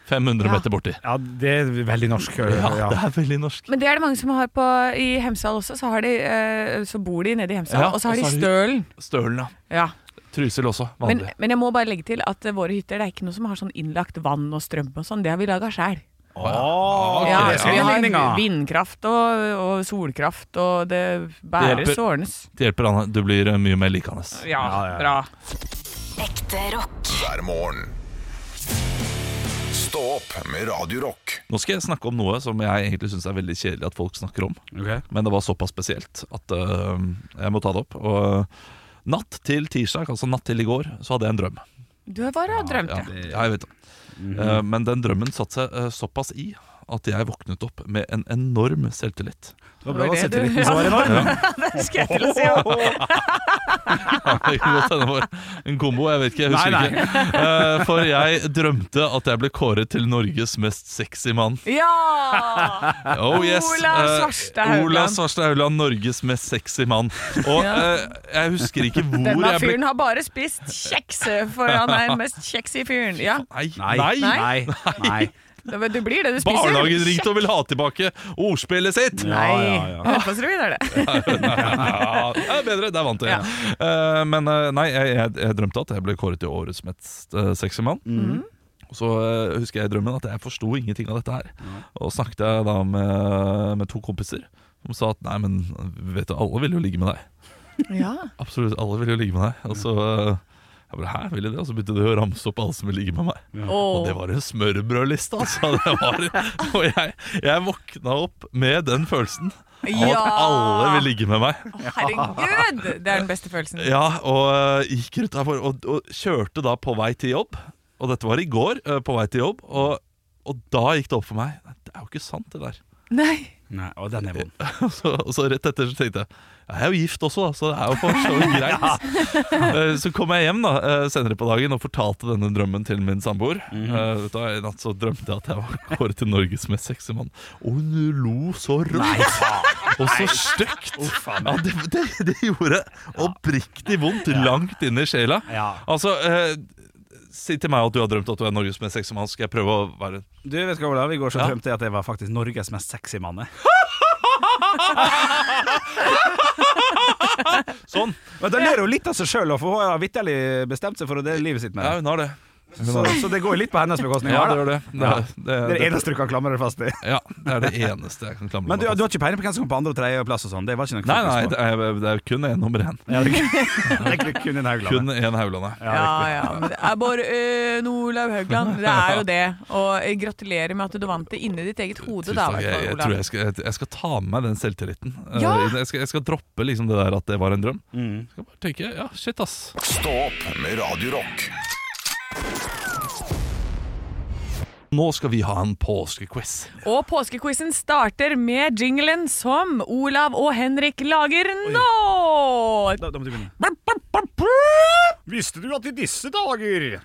[SPEAKER 3] 500
[SPEAKER 4] Ja.
[SPEAKER 3] meter borti.
[SPEAKER 2] ja, det er veldig norsk.
[SPEAKER 3] Ja,
[SPEAKER 2] Ja,
[SPEAKER 3] det er veldig norsk.
[SPEAKER 4] Men det er det mange som har på, i Hemsedal også. Så, har de, eh, så bor de nede i Hemsedal,
[SPEAKER 3] Ja,
[SPEAKER 4] og så har
[SPEAKER 3] og
[SPEAKER 4] de
[SPEAKER 3] så har de-
[SPEAKER 4] stølen.
[SPEAKER 3] Stølen, ja.
[SPEAKER 4] Ja.
[SPEAKER 3] Trusil også.
[SPEAKER 4] Men,
[SPEAKER 3] Vanlig.
[SPEAKER 4] men jeg må bare legge til at eh, våre hytter det er ikke noe som har sånn innlagt vann og strøm og sånn. Det har vi laga sjæl.
[SPEAKER 2] Åh,
[SPEAKER 4] Ja,
[SPEAKER 2] det er
[SPEAKER 4] så vi har
[SPEAKER 2] sammenligninger.
[SPEAKER 4] vindkraft og, og solkraft, og det
[SPEAKER 3] Det
[SPEAKER 4] bæres
[SPEAKER 3] hjelper.
[SPEAKER 4] og ordnes.
[SPEAKER 3] Det hjelper, Anne. Du blir eh, mye mer likende.
[SPEAKER 4] Ja,
[SPEAKER 2] Ja, ja, ja.
[SPEAKER 4] bra.
[SPEAKER 5] Ekte rock.
[SPEAKER 1] hver morgen. Stå opp med Radio Rock.
[SPEAKER 3] Nå skal jeg snakke om noe som jeg egentlig syns er veldig kjedelig at folk snakker om.
[SPEAKER 2] Ok.
[SPEAKER 3] Men det var såpass spesielt at øh, jeg må ta det opp. Og eh, natt til tirsdag, altså natt til i går, så hadde jeg en drøm.
[SPEAKER 4] Du har bare drømt,
[SPEAKER 3] Ja,
[SPEAKER 4] ja.
[SPEAKER 3] ja, jeg vet det.
[SPEAKER 2] Mhm.
[SPEAKER 3] Eh, men den drømmen satte seg eh, såpass i at jeg våknet opp med en enorm selvtillit.
[SPEAKER 2] Det var bra å
[SPEAKER 4] Det var det
[SPEAKER 2] sette
[SPEAKER 4] du-
[SPEAKER 2] litt som var enorm.
[SPEAKER 4] Det skal jeg til å si. ja.
[SPEAKER 3] Det kan godt hende det var en kombo, jeg vet ikke. Jeg husker
[SPEAKER 2] Nei, nei.
[SPEAKER 3] ikke. Eh, for jeg drømte at jeg ble kåret til Norges mest sexy mann.
[SPEAKER 4] Ja!
[SPEAKER 3] Oh yes
[SPEAKER 4] Ola
[SPEAKER 3] eh,
[SPEAKER 4] Svarstad Haugland.
[SPEAKER 3] Ola Svarstad Haugland, Norges mest sexy mann. Og eh, jeg husker ikke hvor
[SPEAKER 4] Denne
[SPEAKER 3] jeg ble
[SPEAKER 4] fyren har bare spist kjeks, eh, for han er den mest kjeksy fyren. Ja.
[SPEAKER 3] Nei,
[SPEAKER 2] Nei,
[SPEAKER 3] nei,
[SPEAKER 2] nei, nei.
[SPEAKER 4] Du blir det du spiser.
[SPEAKER 3] Barnehagen ringte og vil ha tilbake ordspillet sitt!
[SPEAKER 2] Ja,
[SPEAKER 4] Nei.
[SPEAKER 2] ja, ja.
[SPEAKER 4] Hjelpåsrud er det.
[SPEAKER 3] Ja, det er bedre, der vant jeg. Eh, men eh, nei, jeg, jeg, jeg drømte at jeg ble kåret til årets mest eh, sexy mann.
[SPEAKER 4] Mhm.
[SPEAKER 3] Og Så eh, husker jeg i drømmen at jeg forsto ingenting av dette her. Og snakket jeg da med, med to kompiser som sa at nei, men vet du, alle vil jo ligge med deg.
[SPEAKER 4] Ja.
[SPEAKER 3] Absolutt, alle vil jo ligge med deg. Og så eh, jeg bare, hæ, vil de det? Og så begynte de å ramse opp alle som vil ligge med meg. Og det var en smørbrødliste, altså. Det var, og jeg, jeg våkna opp med den følelsen av
[SPEAKER 4] Ja.
[SPEAKER 3] at alle vil ligge med meg.
[SPEAKER 4] Herregud! Det er den beste følelsen.
[SPEAKER 3] Ja, og øh, gikk rundt der for, og, og kjørte da på vei til jobb. Og dette var i går, øh, på vei til jobb. Og, og da gikk det opp for meg. Det er jo ikke sant, det der.
[SPEAKER 4] Nei.
[SPEAKER 2] Nei, å, den er vond.
[SPEAKER 3] Og så, og så rett etter så tenkte jeg Jeg er jo gift også, da, så det er jo for så vidt greit. Eh, Så kom jeg hjem da eh, senere på dagen og fortalte denne drømmen til min samboer. Eh, Vet du hva, I natt så drømte jeg at jeg var kåret til Norges mest sexy mann. Og hun lo så rått og så stygt. Ja, det, det, det gjorde oppriktig vondt langt inn i sjela.
[SPEAKER 2] Ja.
[SPEAKER 3] Altså eh, Si til meg at du har drømt at du er Norges mest sexy mann. Skal jeg prøve å være
[SPEAKER 2] Du, vet du hva, Olav? I går så
[SPEAKER 3] Ja.
[SPEAKER 2] drømte jeg at jeg var faktisk Norges mest sexy mann. jeg.
[SPEAKER 3] sånn?
[SPEAKER 2] Men da ler hun litt av seg sjøl, for hun har vitterlig bestemt seg for å dele livet sitt med
[SPEAKER 3] Ja,
[SPEAKER 2] deg.
[SPEAKER 3] hun har det.
[SPEAKER 2] Så, så det går jo litt på hennes bekostning.
[SPEAKER 3] Ja, det
[SPEAKER 2] her, da.
[SPEAKER 3] gjør det. Det,
[SPEAKER 2] Ja.
[SPEAKER 3] det,
[SPEAKER 2] Det er det eneste du kan klamre deg fast i.
[SPEAKER 3] Ja, det er det eneste jeg kan klamre
[SPEAKER 2] Men du,
[SPEAKER 3] meg
[SPEAKER 2] du har ikke peiling på hvem som kom på andre- og tredjeplass og sånn? Det var ikke noe
[SPEAKER 3] Nei, nei,
[SPEAKER 2] fokus
[SPEAKER 3] det er, det er kun én nummer én.
[SPEAKER 2] på. Ja, det er kun- kun en
[SPEAKER 3] Kun
[SPEAKER 2] Haugland.
[SPEAKER 3] én Haugland, ja.
[SPEAKER 4] Ja, ja. Men det er bare øh, Olav Haugland. Det er jo det. Og jeg gratulerer med at du vant det inni ditt eget hode,
[SPEAKER 3] Tusen
[SPEAKER 4] da.
[SPEAKER 3] takk. Jeg, jeg tror jeg skal, jeg, jeg skal ta med meg den selvtilliten. Eh,
[SPEAKER 4] Ja!
[SPEAKER 3] Jeg, skal, jeg skal droppe liksom det der at det var en drøm. Jeg skal bare tenke ja, shit, ass.
[SPEAKER 1] Stå opp med Radio Rock.
[SPEAKER 3] Nå skal vi ha en påskequiz.
[SPEAKER 4] Og påskequizen starter med jinglen som Olav og Henrik lager nå.
[SPEAKER 2] Da, da må du begynne.
[SPEAKER 6] Visste du at i disse dager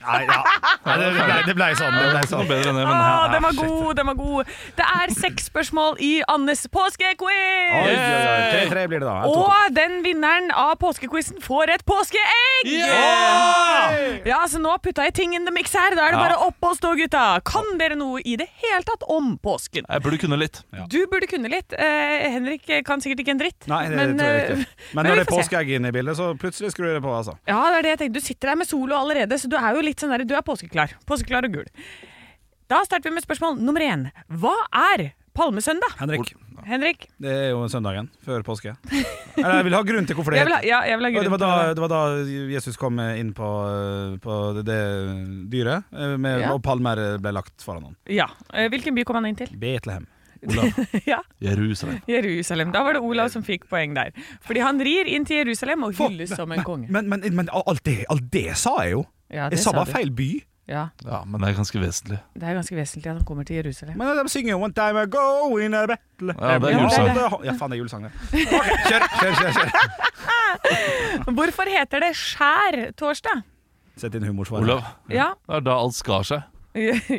[SPEAKER 2] Nei, ja. Nei, det, ble, det ble sånn. Det ble
[SPEAKER 3] Noe
[SPEAKER 2] sånn.
[SPEAKER 3] bedre enn det, men
[SPEAKER 4] Ah,
[SPEAKER 3] her
[SPEAKER 4] den var
[SPEAKER 3] er shit.
[SPEAKER 4] god, den var god. Det er seks spørsmål i Annes
[SPEAKER 2] Oi, oi,
[SPEAKER 4] påskequiz!
[SPEAKER 2] oi. Tre-tre blir det da. To, to.
[SPEAKER 4] Og den vinneren av påskequizen får et påskeegg! Ja, så nå putta jeg ting in the mix her. Da er det bare opp og stå, gutta. Kan dere noe i det hele tatt om påsken?
[SPEAKER 3] Jeg burde kunne litt.
[SPEAKER 4] Du burde kunne litt. Eh, Henrik kan sikkert ikke en dritt.
[SPEAKER 2] Nei, det tror jeg
[SPEAKER 4] eh,
[SPEAKER 2] ikke. Men
[SPEAKER 4] vi
[SPEAKER 2] når det er
[SPEAKER 4] får se.
[SPEAKER 2] påskeegg inne i bildet, så plutselig skrur det på, altså.
[SPEAKER 4] Ja, det er det jeg tenkte. Du sitter der med solo allerede, så du er jo litt sånn der, du er påskeklar. Påskeklar og gul. Da starter vi med spørsmål nummer én. Hva er palmesøndag?
[SPEAKER 2] Henrik,
[SPEAKER 4] Henrik?
[SPEAKER 2] det er jo søndagen før påske. Eller jeg vil ha grunn til hvorfor det
[SPEAKER 4] Jeg vil ha,
[SPEAKER 2] heter
[SPEAKER 4] ja, jeg vil ha
[SPEAKER 2] Og
[SPEAKER 4] grunn
[SPEAKER 2] det, var
[SPEAKER 4] til
[SPEAKER 2] da-
[SPEAKER 4] det.
[SPEAKER 2] det var da Jesus kom inn på, på det, det dyret, eh, med,
[SPEAKER 4] Ja.
[SPEAKER 2] og palmer ble lagt foran ham.
[SPEAKER 4] Ja. Eh, Hvilken by kom han inn til?
[SPEAKER 2] Betlehem.
[SPEAKER 4] ja,
[SPEAKER 3] Jerusalem.
[SPEAKER 4] Jerusalem. Da var det
[SPEAKER 2] Eh.
[SPEAKER 4] Olav som fikk poeng der. Fordi han rir inn til Jerusalem og hylles som en konge.
[SPEAKER 2] Men, men, men alt, det, alt det sa jeg jo!
[SPEAKER 4] Ja, det
[SPEAKER 2] Jeg sa
[SPEAKER 4] sa
[SPEAKER 2] bare
[SPEAKER 4] du.
[SPEAKER 2] feil by.
[SPEAKER 4] Ja,
[SPEAKER 3] Ja, men det er ganske vesentlig.
[SPEAKER 4] det er ganske vesentlig at han kommer til Jerusalem.
[SPEAKER 2] Men de synger jo 'One time ago in a battle'.
[SPEAKER 3] Ja, det er julesang.
[SPEAKER 2] Ja, faen, det er julesang, det. Ok, kjør, kjør, kjør. kjør.
[SPEAKER 4] Hvorfor heter det skjærtorsdag?
[SPEAKER 2] Sett inn humorsvaret.
[SPEAKER 3] Olav,
[SPEAKER 4] Ja.
[SPEAKER 3] det er da alt skar seg.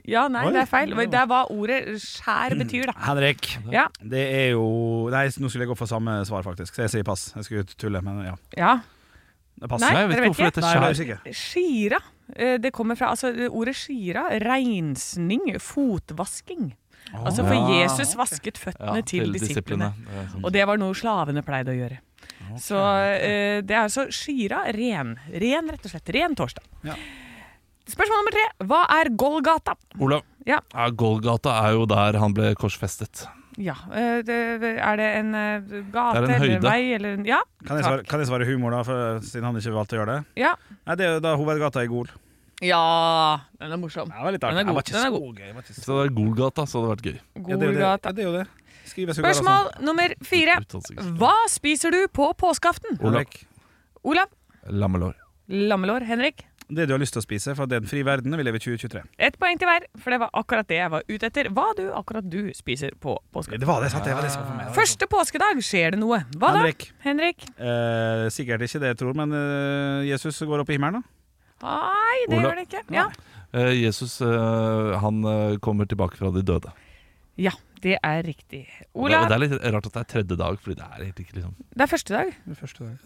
[SPEAKER 4] ja, nei,
[SPEAKER 2] Oi.
[SPEAKER 4] det er feil. Det er hva ordet skjær betyr, da.
[SPEAKER 2] Henrik.
[SPEAKER 4] Ja,
[SPEAKER 2] Det er jo Nei, nå skulle jeg gå for samme svar, faktisk. Så jeg sier pass. Jeg skulle tulle, men ja.
[SPEAKER 4] ja.
[SPEAKER 2] Det passer.
[SPEAKER 4] Nei,
[SPEAKER 3] Nei, jeg vet ikke
[SPEAKER 4] dere vet
[SPEAKER 3] hvorfor
[SPEAKER 4] ikke.
[SPEAKER 3] dette
[SPEAKER 2] Nei, jeg ble
[SPEAKER 3] skjer.
[SPEAKER 2] usikker.
[SPEAKER 4] Skira. eh, Det kommer fra altså, ordet skira. Reinsning. Fotvasking. Altså for
[SPEAKER 3] Ja.
[SPEAKER 4] Jesus vasket føttene
[SPEAKER 3] Ah, Ja,
[SPEAKER 4] til disiplene.
[SPEAKER 3] Det er sånn.
[SPEAKER 4] Og det var noe slavene pleide å gjøre. Så eh, det er altså skira ren. Ren, rett og slett. Ren torsdag.
[SPEAKER 2] Ja.
[SPEAKER 4] Spørsmål nummer tre. Hva er Golgata?
[SPEAKER 3] Olav,
[SPEAKER 4] Ja.
[SPEAKER 3] ja, Golgata er jo der han ble korsfestet.
[SPEAKER 4] Ja, eh, det, er det en eh, gate
[SPEAKER 3] Det er en
[SPEAKER 4] eller
[SPEAKER 3] høyde.
[SPEAKER 4] en vei eller en- Ja.
[SPEAKER 2] Kan jeg, svare, kan jeg svare humor, da, for, siden han ikke valgte å gjøre det?
[SPEAKER 4] Ja.
[SPEAKER 2] Nei, Det er jo da hovedgata i Gol.
[SPEAKER 4] ja. Den er morsom.
[SPEAKER 2] Det var litt
[SPEAKER 4] Den
[SPEAKER 2] artig.
[SPEAKER 4] er
[SPEAKER 2] Jeg var ikke
[SPEAKER 4] god. Den er
[SPEAKER 2] så
[SPEAKER 4] god.
[SPEAKER 2] gøy, jeg var ikke så-
[SPEAKER 3] Hvis det hadde vært Golgata, så hadde det vært gøy.
[SPEAKER 2] Ja, det er jo det.
[SPEAKER 4] Golgata.
[SPEAKER 2] Ja, det er jo det. Skrives jo
[SPEAKER 4] Spørsmål nummer fire.
[SPEAKER 3] Uttalelse.
[SPEAKER 4] Hva spiser du på påskeaften?
[SPEAKER 2] bare sånn. Henrik,
[SPEAKER 4] Olav?
[SPEAKER 3] Lammelår.
[SPEAKER 4] Lammelår. Henrik?
[SPEAKER 2] Det du har lyst til å spise, for det er den frie verden, vi lever i 2023.
[SPEAKER 4] Ett poeng til hver, for det var akkurat det jeg var ute etter. Hva du akkurat du spiser på påskeaften.
[SPEAKER 2] Det var det jeg sa, det var det jeg sa for meg.
[SPEAKER 4] Første påskedag skjer det noe. Hva
[SPEAKER 2] Henrik.
[SPEAKER 4] da? Henrik?
[SPEAKER 2] Eh, sikkert ikke det jeg tror, men eh, Jesus går opp i himmelen, da.
[SPEAKER 4] Nei, det
[SPEAKER 3] Olav.
[SPEAKER 4] gjør det ikke. Ja.
[SPEAKER 3] Eh, Jesus eh, han eh, kommer tilbake fra de døde.
[SPEAKER 4] ja, det er riktig.
[SPEAKER 3] Og Det, og
[SPEAKER 4] Olav,
[SPEAKER 3] det er litt rart at det er tredje dag, Fordi det er egentlig ikke liksom
[SPEAKER 4] det er første dag.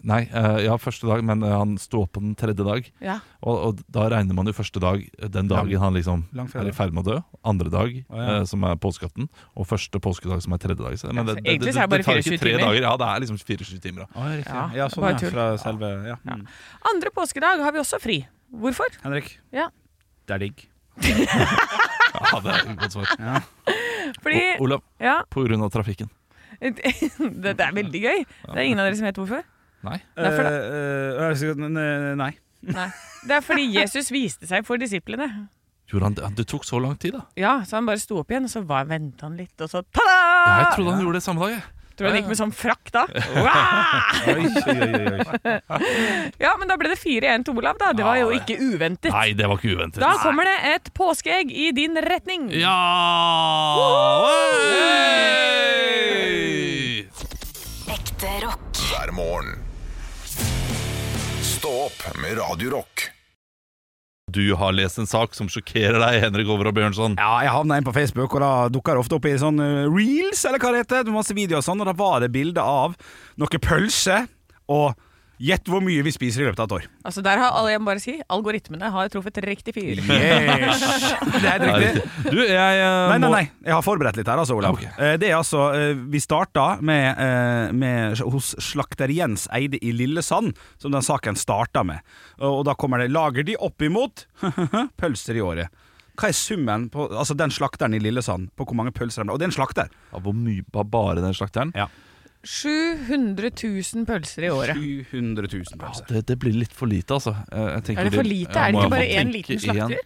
[SPEAKER 3] Nei, eh, ja, første dag, men eh, han sto opp på den tredje dag.
[SPEAKER 4] Ja.
[SPEAKER 3] Og, og da regner man jo første dag eh, den dagen han liksom
[SPEAKER 2] Langfredag.
[SPEAKER 3] er i ferd med å dø. Andre dag,
[SPEAKER 2] ja.
[SPEAKER 3] eh, som er påskeaften. Og første påskedag, som er tredje dag. Så, men
[SPEAKER 4] Ja,
[SPEAKER 3] det,
[SPEAKER 4] så
[SPEAKER 3] det,
[SPEAKER 4] egentlig
[SPEAKER 3] det,
[SPEAKER 4] så er
[SPEAKER 3] det
[SPEAKER 4] det bare
[SPEAKER 3] tar ikke
[SPEAKER 4] 24
[SPEAKER 3] tre
[SPEAKER 4] timer.
[SPEAKER 3] dager. Ja, det er liksom 24 timer. Da.
[SPEAKER 2] Oh, riktig.
[SPEAKER 4] Ja,
[SPEAKER 2] Ja, sånn,
[SPEAKER 4] bare
[SPEAKER 2] ja.
[SPEAKER 4] tull.
[SPEAKER 2] Fra selve ja. Mm.
[SPEAKER 4] Andre påskedag har vi også fri. Hvorfor?
[SPEAKER 2] Henrik.
[SPEAKER 4] Ja.
[SPEAKER 2] Det er digg.
[SPEAKER 3] Ja, det er et godt svar.
[SPEAKER 4] Fordi
[SPEAKER 3] O- Olav,
[SPEAKER 4] Ja.
[SPEAKER 3] på grunn av trafikken.
[SPEAKER 4] Dette er veldig gøy. Det er ingen av dere som vet hvorfor.
[SPEAKER 3] Nei.
[SPEAKER 4] Det er for-
[SPEAKER 2] Eh, eh, jeg skulle- ne- nei.
[SPEAKER 4] Nei. Det er fordi Jesus viste seg for disiplene.
[SPEAKER 3] Gjorde han det? Det tok så lang tid, da.
[SPEAKER 4] Ja, så han bare sto opp igjen, og så var, ventet han litt, og
[SPEAKER 3] Ja,
[SPEAKER 4] så
[SPEAKER 3] jeg
[SPEAKER 4] ta-da!
[SPEAKER 3] trodde han gjorde det samme dag. jeg.
[SPEAKER 4] Tror du han gikk med sånn frakk da?
[SPEAKER 2] Oi,
[SPEAKER 4] Wow!
[SPEAKER 2] oi, oi, oi.
[SPEAKER 4] Ja, men da ble det 4-1 til Olav, da. Det var jo
[SPEAKER 3] Ja,
[SPEAKER 4] ikke uventet.
[SPEAKER 3] Nei, det var ikke uventet.
[SPEAKER 4] Da kommer det et påskeegg i din retning.
[SPEAKER 3] Ja! Hey!
[SPEAKER 5] Ekte rock.
[SPEAKER 1] hver morgen. Stå opp med Radio Rock.
[SPEAKER 3] Du har lest en sak som sjokkerer deg, Henrik Over og Bjørnson.
[SPEAKER 2] Ja, jeg havna inn på Facebook, og da dukker det ofte opp i sånn eh, reels, eller hva det heter. Masse videoer og sånn, og da var det bilde av noe pølse, og gjett hvor mye vi spiser i løpet av et år.
[SPEAKER 4] Altså, der har alle, jeg må bare si, algoritmene har truffet riktig fyr.
[SPEAKER 2] Yes! Det er helt
[SPEAKER 3] Det er
[SPEAKER 2] riktig.
[SPEAKER 3] riktig. Du, jeg eh,
[SPEAKER 2] Nei, nei,
[SPEAKER 3] må-
[SPEAKER 2] nei. Jeg har forberedt litt her, altså, Olav.
[SPEAKER 3] Ja, ok.
[SPEAKER 2] Eh, Det er altså eh, Vi starta med, eh, med hos slakter Jens Eide i Lillesand, som den saken starta med. Og og da kommer det 'Lager de oppimot pølser i året'? Hva er summen på Altså den slakteren i Lillesand på hvor mange pølser han Og det er en slakter.
[SPEAKER 3] Ja, hvor mye var bare den slakteren?
[SPEAKER 2] Ja.
[SPEAKER 4] 700 000 pølser i året.
[SPEAKER 2] 700 000 pølser.
[SPEAKER 3] Det, det blir litt for lite, altså. Eh, Jeg tenker
[SPEAKER 4] Er det for
[SPEAKER 3] de-
[SPEAKER 4] lite?
[SPEAKER 3] jeg
[SPEAKER 4] Er det
[SPEAKER 3] må
[SPEAKER 4] ikke
[SPEAKER 3] iallfall
[SPEAKER 4] bare én
[SPEAKER 3] tenke
[SPEAKER 4] liten slakter?
[SPEAKER 3] igjen.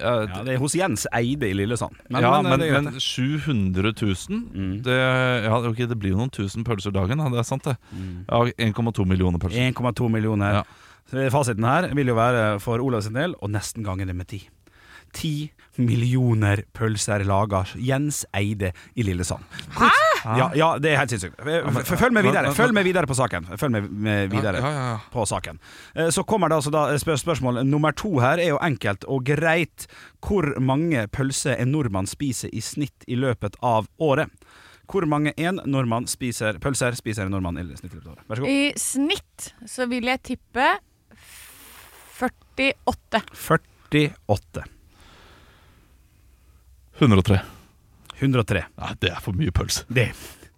[SPEAKER 3] Ja, det-
[SPEAKER 2] Ja, det er hos Jens Eide i Lillesand.
[SPEAKER 3] ja,
[SPEAKER 2] det er
[SPEAKER 3] men, eh,
[SPEAKER 2] greit,
[SPEAKER 3] men 700 000 det, ja, ok, det blir jo noen tusen pølser dagen, da, det er sant det. Ja, 1,2 millioner
[SPEAKER 2] det.
[SPEAKER 3] pølser.
[SPEAKER 2] 1,2 millioner.
[SPEAKER 3] Ja.
[SPEAKER 2] Så Fasiten her vil jo være for Olav sin del, og nesten gangen det med ti. Ti millioner pølser lager Jens Eide i Lillesand. Hvordan, Ja, ja, det er helt sinnssykt. Eh, F- f- Følg med videre Følg med videre på saken. Følg med- med videre
[SPEAKER 3] Ja, ja, ja.
[SPEAKER 2] på saken. Eh, Så kommer det altså da spør spørsmål nummer to her, er jo enkelt og greit. Hvor mange pølser en nordmann spiser i snitt i løpet av året? Hvor mange en nordmann spiser pølser spiser en nordmann i snitt i løpet av året? Vær så god.
[SPEAKER 4] I snitt så vil jeg tippe 48.
[SPEAKER 2] 48.
[SPEAKER 3] 103.
[SPEAKER 2] 103.
[SPEAKER 3] Nei, det er for mye pølse.
[SPEAKER 2] Det.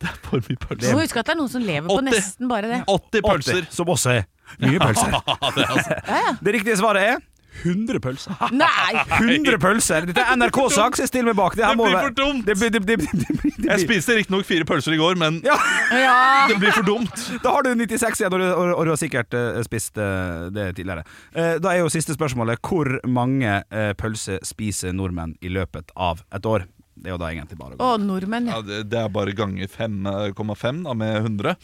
[SPEAKER 3] Det er for mye pølse.
[SPEAKER 4] Du må huske at det er noen som lever på
[SPEAKER 3] 80.
[SPEAKER 4] nesten bare det.
[SPEAKER 3] 80
[SPEAKER 2] 80, som også er mye pølser. Det riktige svaret er 100 pølser.
[SPEAKER 4] Nei!
[SPEAKER 2] 100 pølser! Dette er NRK-sak, så jeg stiller meg bak. Det, her
[SPEAKER 3] Det
[SPEAKER 2] må
[SPEAKER 3] blir
[SPEAKER 2] være-
[SPEAKER 3] for dumt.
[SPEAKER 2] Det, blir- det, det, det, det, blir- det
[SPEAKER 3] Jeg
[SPEAKER 2] blir-
[SPEAKER 3] spiste riktignok fire pølser i går, men
[SPEAKER 2] Ja,
[SPEAKER 3] det blir for dumt.
[SPEAKER 2] Da har du 96 igjen, og du, og, og du har sikkert eh, spist eh, det tidligere. Eh, da er jo siste spørsmålet hvor mange eh, pølser spiser nordmenn i løpet av et år? Det er jo da egentlig bare å gå.
[SPEAKER 4] Å, nordmenn, ja.
[SPEAKER 3] Ja, det, det er bare ganger 5,5 da, med 100,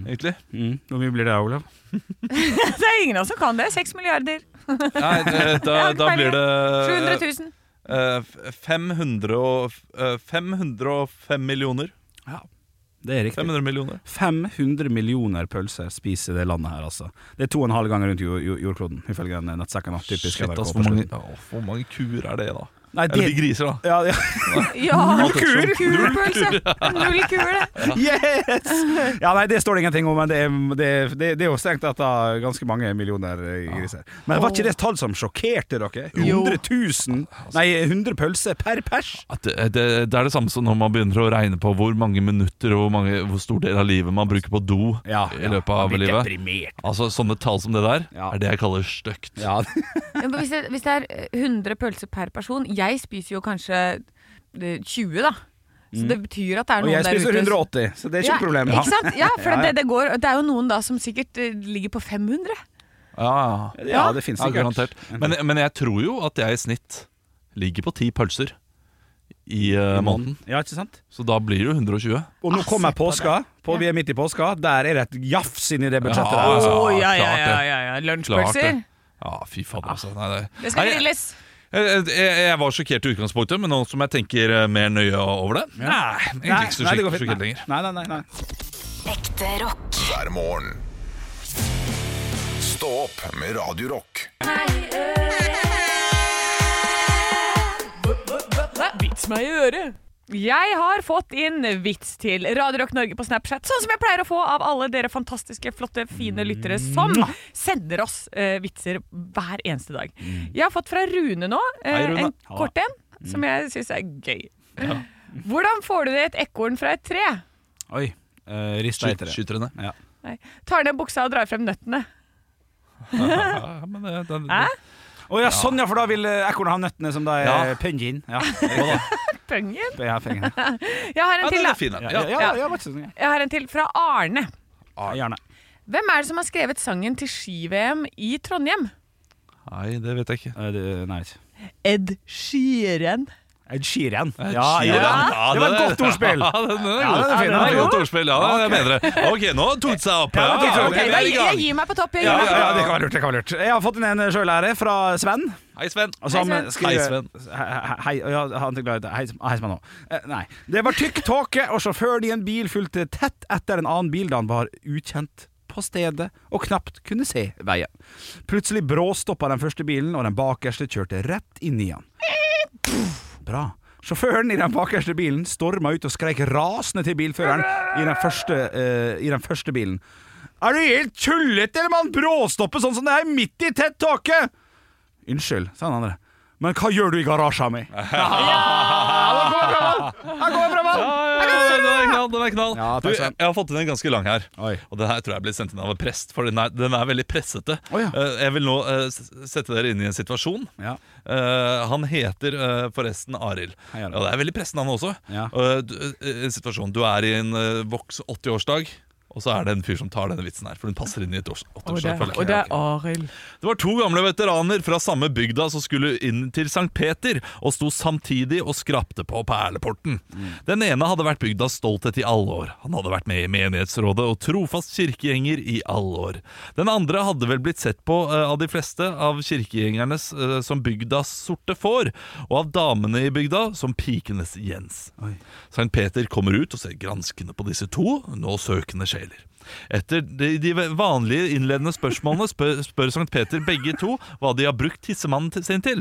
[SPEAKER 3] egentlig.
[SPEAKER 2] Mm. Hvor mye blir det, Olav?
[SPEAKER 4] Det er ingen av oss som kan det. 6 milliarder.
[SPEAKER 3] Nei, det, da,
[SPEAKER 4] Jeg har ikke
[SPEAKER 3] da blir det
[SPEAKER 4] 700 000.
[SPEAKER 3] eh, f- 500 og, eh, 505 millioner.
[SPEAKER 2] Det er riktig.
[SPEAKER 3] 500 millioner.
[SPEAKER 2] 500 millioner pølser spiser det landet her, altså. Det er to og en halv gang rundt jord, jord, jordkloden, ifølge den eh, nettsekken. da. Typisk
[SPEAKER 3] Shit,
[SPEAKER 2] NRK
[SPEAKER 3] ass,
[SPEAKER 2] på
[SPEAKER 3] hvor, mange,
[SPEAKER 2] slutten.
[SPEAKER 3] å, hvor mange kuer er det, da?
[SPEAKER 2] Nei, det,
[SPEAKER 3] Eller de griser, da.
[SPEAKER 2] ja, ja.
[SPEAKER 4] Ja,
[SPEAKER 3] Null kuer.
[SPEAKER 4] Kul pølse. Null kule.
[SPEAKER 2] Yes! Ja, nei, det står det ingenting om, men det er, det, er- det, det er jo strengt tatt da ganske mange millioner eh, griser. Men var ikke det et tall som sjokkerte dere? 100 000?
[SPEAKER 3] Altså.
[SPEAKER 2] Nei, 100 pølser per pers?
[SPEAKER 3] At det, det, det er det samme som når man begynner å regne på hvor mange minutter og hvor, mange, hvor stor del av livet man bruker på do i løpet av
[SPEAKER 2] man blir
[SPEAKER 3] livet.
[SPEAKER 2] Deprimert.
[SPEAKER 3] Altså Sånne tall som det der
[SPEAKER 2] Ja.
[SPEAKER 3] er det jeg kaller stygt.
[SPEAKER 2] Ja,
[SPEAKER 4] Ja, men Hvis det, hvis det er eh, 100 pølser per person Jeg spiser jo kanskje eh, 20, da. Så det betyr at det er
[SPEAKER 2] Mm. og
[SPEAKER 4] noen
[SPEAKER 2] jeg
[SPEAKER 4] der
[SPEAKER 2] spiser
[SPEAKER 4] ute som-
[SPEAKER 2] 180, så det er ikke et problem.
[SPEAKER 4] Ja, ikke sant? Ja, for
[SPEAKER 2] Ja, ja.
[SPEAKER 4] Det, det, går, det er jo noen da som sikkert eh, ligger på 500.
[SPEAKER 3] Ja, ja.
[SPEAKER 2] Ja, det finnes
[SPEAKER 3] Ja,
[SPEAKER 2] sikkert. Mhm.
[SPEAKER 3] garantert. Men, men jeg tror jo at jeg i snitt ligger på ti pølser i eh, måneden.
[SPEAKER 2] Ja, ikke sant?
[SPEAKER 3] Så da blir det jo 120.
[SPEAKER 2] Og nå kommer påska. På, vi er midt i påska. Der er det et jafs inni det budsjettet.
[SPEAKER 3] Ja,
[SPEAKER 2] der, altså.
[SPEAKER 3] ja,
[SPEAKER 4] ja, ja,
[SPEAKER 3] klart det.
[SPEAKER 4] ja, ja, ja.
[SPEAKER 3] Klart det.
[SPEAKER 4] Lunsjpølser.
[SPEAKER 3] Ja, fy fader, altså. Nei, det.
[SPEAKER 4] Det skal
[SPEAKER 3] Nei,
[SPEAKER 4] grilles.
[SPEAKER 3] jeg, jeg, jeg var sjokkert i utgangspunktet, men nå som jeg tenker eh, mer nøye over det Nei, egentlig ikke så
[SPEAKER 2] Nei, det går
[SPEAKER 3] sjokk-
[SPEAKER 2] fint.
[SPEAKER 3] sjokkert lenger.
[SPEAKER 2] Nei, nei, nei, nei.
[SPEAKER 7] Ekte rock.
[SPEAKER 1] hver morgen. Stå opp med Radio Rock.
[SPEAKER 4] Vits meg i øret. Jeg har fått inn vits til Radio Rock Norge på Snapchat, sånn som jeg pleier å få av alle dere fantastiske, flotte, fine lyttere som
[SPEAKER 3] Mm.
[SPEAKER 4] sender oss eh, vitser hver eneste dag. Jeg har fått fra Rune nå, eh,
[SPEAKER 3] Mm. Hei, Rune. Mm.
[SPEAKER 4] en kort en, som jeg syns er gøy. Hvordan får du ned et ekorn fra et tre?
[SPEAKER 2] Oi. Uh, Rista
[SPEAKER 3] Skyt,
[SPEAKER 2] etter det.
[SPEAKER 3] skyter henne.
[SPEAKER 2] Ja.
[SPEAKER 4] Nei. Tar ned buksa og drar frem nøttene.
[SPEAKER 3] Ja, men det, det, det,
[SPEAKER 2] Å ja, sånn ja, for da vil eh, ekornet ha nøttene som da er
[SPEAKER 3] Ja.
[SPEAKER 2] ja. pungin. Ja.
[SPEAKER 4] Pøngen.
[SPEAKER 2] Jeg har fingeren.
[SPEAKER 4] Jeg har
[SPEAKER 3] ja,
[SPEAKER 4] en til,
[SPEAKER 3] den
[SPEAKER 4] da.
[SPEAKER 3] er fin.
[SPEAKER 2] Ja,
[SPEAKER 3] Ja.
[SPEAKER 2] ja, Ah,
[SPEAKER 3] Ja.
[SPEAKER 2] ja, ja, vær så snill.
[SPEAKER 4] Jeg har en til fra Arne.
[SPEAKER 2] Ja, gjerne.
[SPEAKER 4] Hvem er det som har skrevet sangen til ski-VM i Trondheim?
[SPEAKER 3] Nei, det vet jeg ikke.
[SPEAKER 2] Eh, det- Nei.
[SPEAKER 4] Ed Sheeran.
[SPEAKER 2] Ed Sheeran. Ja,
[SPEAKER 3] Sheeran.
[SPEAKER 2] ja,
[SPEAKER 3] Ah, Ja,
[SPEAKER 2] Det var et
[SPEAKER 3] den-
[SPEAKER 2] godt ordspill.
[SPEAKER 3] Ja, den, den er
[SPEAKER 2] Ja,
[SPEAKER 3] god.
[SPEAKER 2] den er fin,
[SPEAKER 3] Ja,
[SPEAKER 2] den er
[SPEAKER 3] det var et
[SPEAKER 2] god.
[SPEAKER 3] godt ordspill. Ja, det er bedre. Ok, nå tok det seg opp. Ja,
[SPEAKER 2] ok,
[SPEAKER 3] ok,
[SPEAKER 2] ok,
[SPEAKER 3] vi er
[SPEAKER 4] Jeg,
[SPEAKER 3] i
[SPEAKER 4] jeg,
[SPEAKER 3] gang.
[SPEAKER 4] gir meg på topp. Jeg
[SPEAKER 2] Ja,
[SPEAKER 4] gir meg
[SPEAKER 2] ja,
[SPEAKER 4] på
[SPEAKER 2] ja, det kan være lurt. det kan være lurt Jeg har fått inn en sjøllære fra Sven.
[SPEAKER 3] Hei, Sven.
[SPEAKER 2] og som
[SPEAKER 4] Hei, Sven.
[SPEAKER 2] skriver-
[SPEAKER 3] Hei, Sven.
[SPEAKER 2] Hei, hei, ja, han er glad i det. Hei, hei, Sven òg. Eh, Nei. Det var tykk tåke, og sjåføren i en bil fulgte tett etter en annen bil da han var ukjent på stedet og knapt kunne se veien. Plutselig bråstoppa den første bilen, og den bakerste kjørte rett inn i han. Bra. Sjåføren i den bakerste bilen storma ut og skreik rasende til bilføreren i den første, eh, i den første bilen. Er du helt tullete, eller man bråstopper sånn som det her midt i tett tåke? Unnskyld, sa han andre. Men hva gjør du i garasjen min?
[SPEAKER 3] Ja, Den er knall. Den er knall.
[SPEAKER 2] Ja, takk,
[SPEAKER 3] du, jeg
[SPEAKER 2] Sven.
[SPEAKER 3] har fått inn en ganske lang her.
[SPEAKER 2] Oi.
[SPEAKER 3] Og den her tror jeg ble sendt inn av en prest, for den er, den er veldig pressete.
[SPEAKER 2] Å, ja.
[SPEAKER 3] Eh, Jeg vil nå eh, s- sette dere inn i en situasjon.
[SPEAKER 2] Ja.
[SPEAKER 3] Eh, han heter eh, forresten Arild.
[SPEAKER 2] Hei, Arild.
[SPEAKER 3] Ja, det er veldig pressende, han også.
[SPEAKER 2] Ja.
[SPEAKER 3] eh, Og, eh, du, eh, situasjonen, du er i en uh, voks 80-årsdag, og Og så er det en fyr som tar denne vitsen her, for den passer inn i et års-
[SPEAKER 8] Og det,
[SPEAKER 3] åtteårsdag. føler jeg.
[SPEAKER 8] og det er Arild.
[SPEAKER 3] Det var to gamle veteraner fra samme bygda som skulle inn til Sankt Peter, og sto samtidig og skrapte på perleporten.
[SPEAKER 8] Mm.
[SPEAKER 3] Den ene hadde vært bygdas stolthet i alle år. Han hadde vært med i menighetsrådet og trofast kirkegjenger i alle år. Den andre hadde vel blitt sett på eh, av de fleste av kirkegjengernes eh, som bygdas sorte får, og av damene i bygda som pikenes Jens. Sankt Peter kommer ut og ser granskende på disse to, nå søkende sjeler. Etter de, de vanlige innledende spørsmålene spør, spør Sankt Peter begge to hva de har brukt tissemannen til- sin til.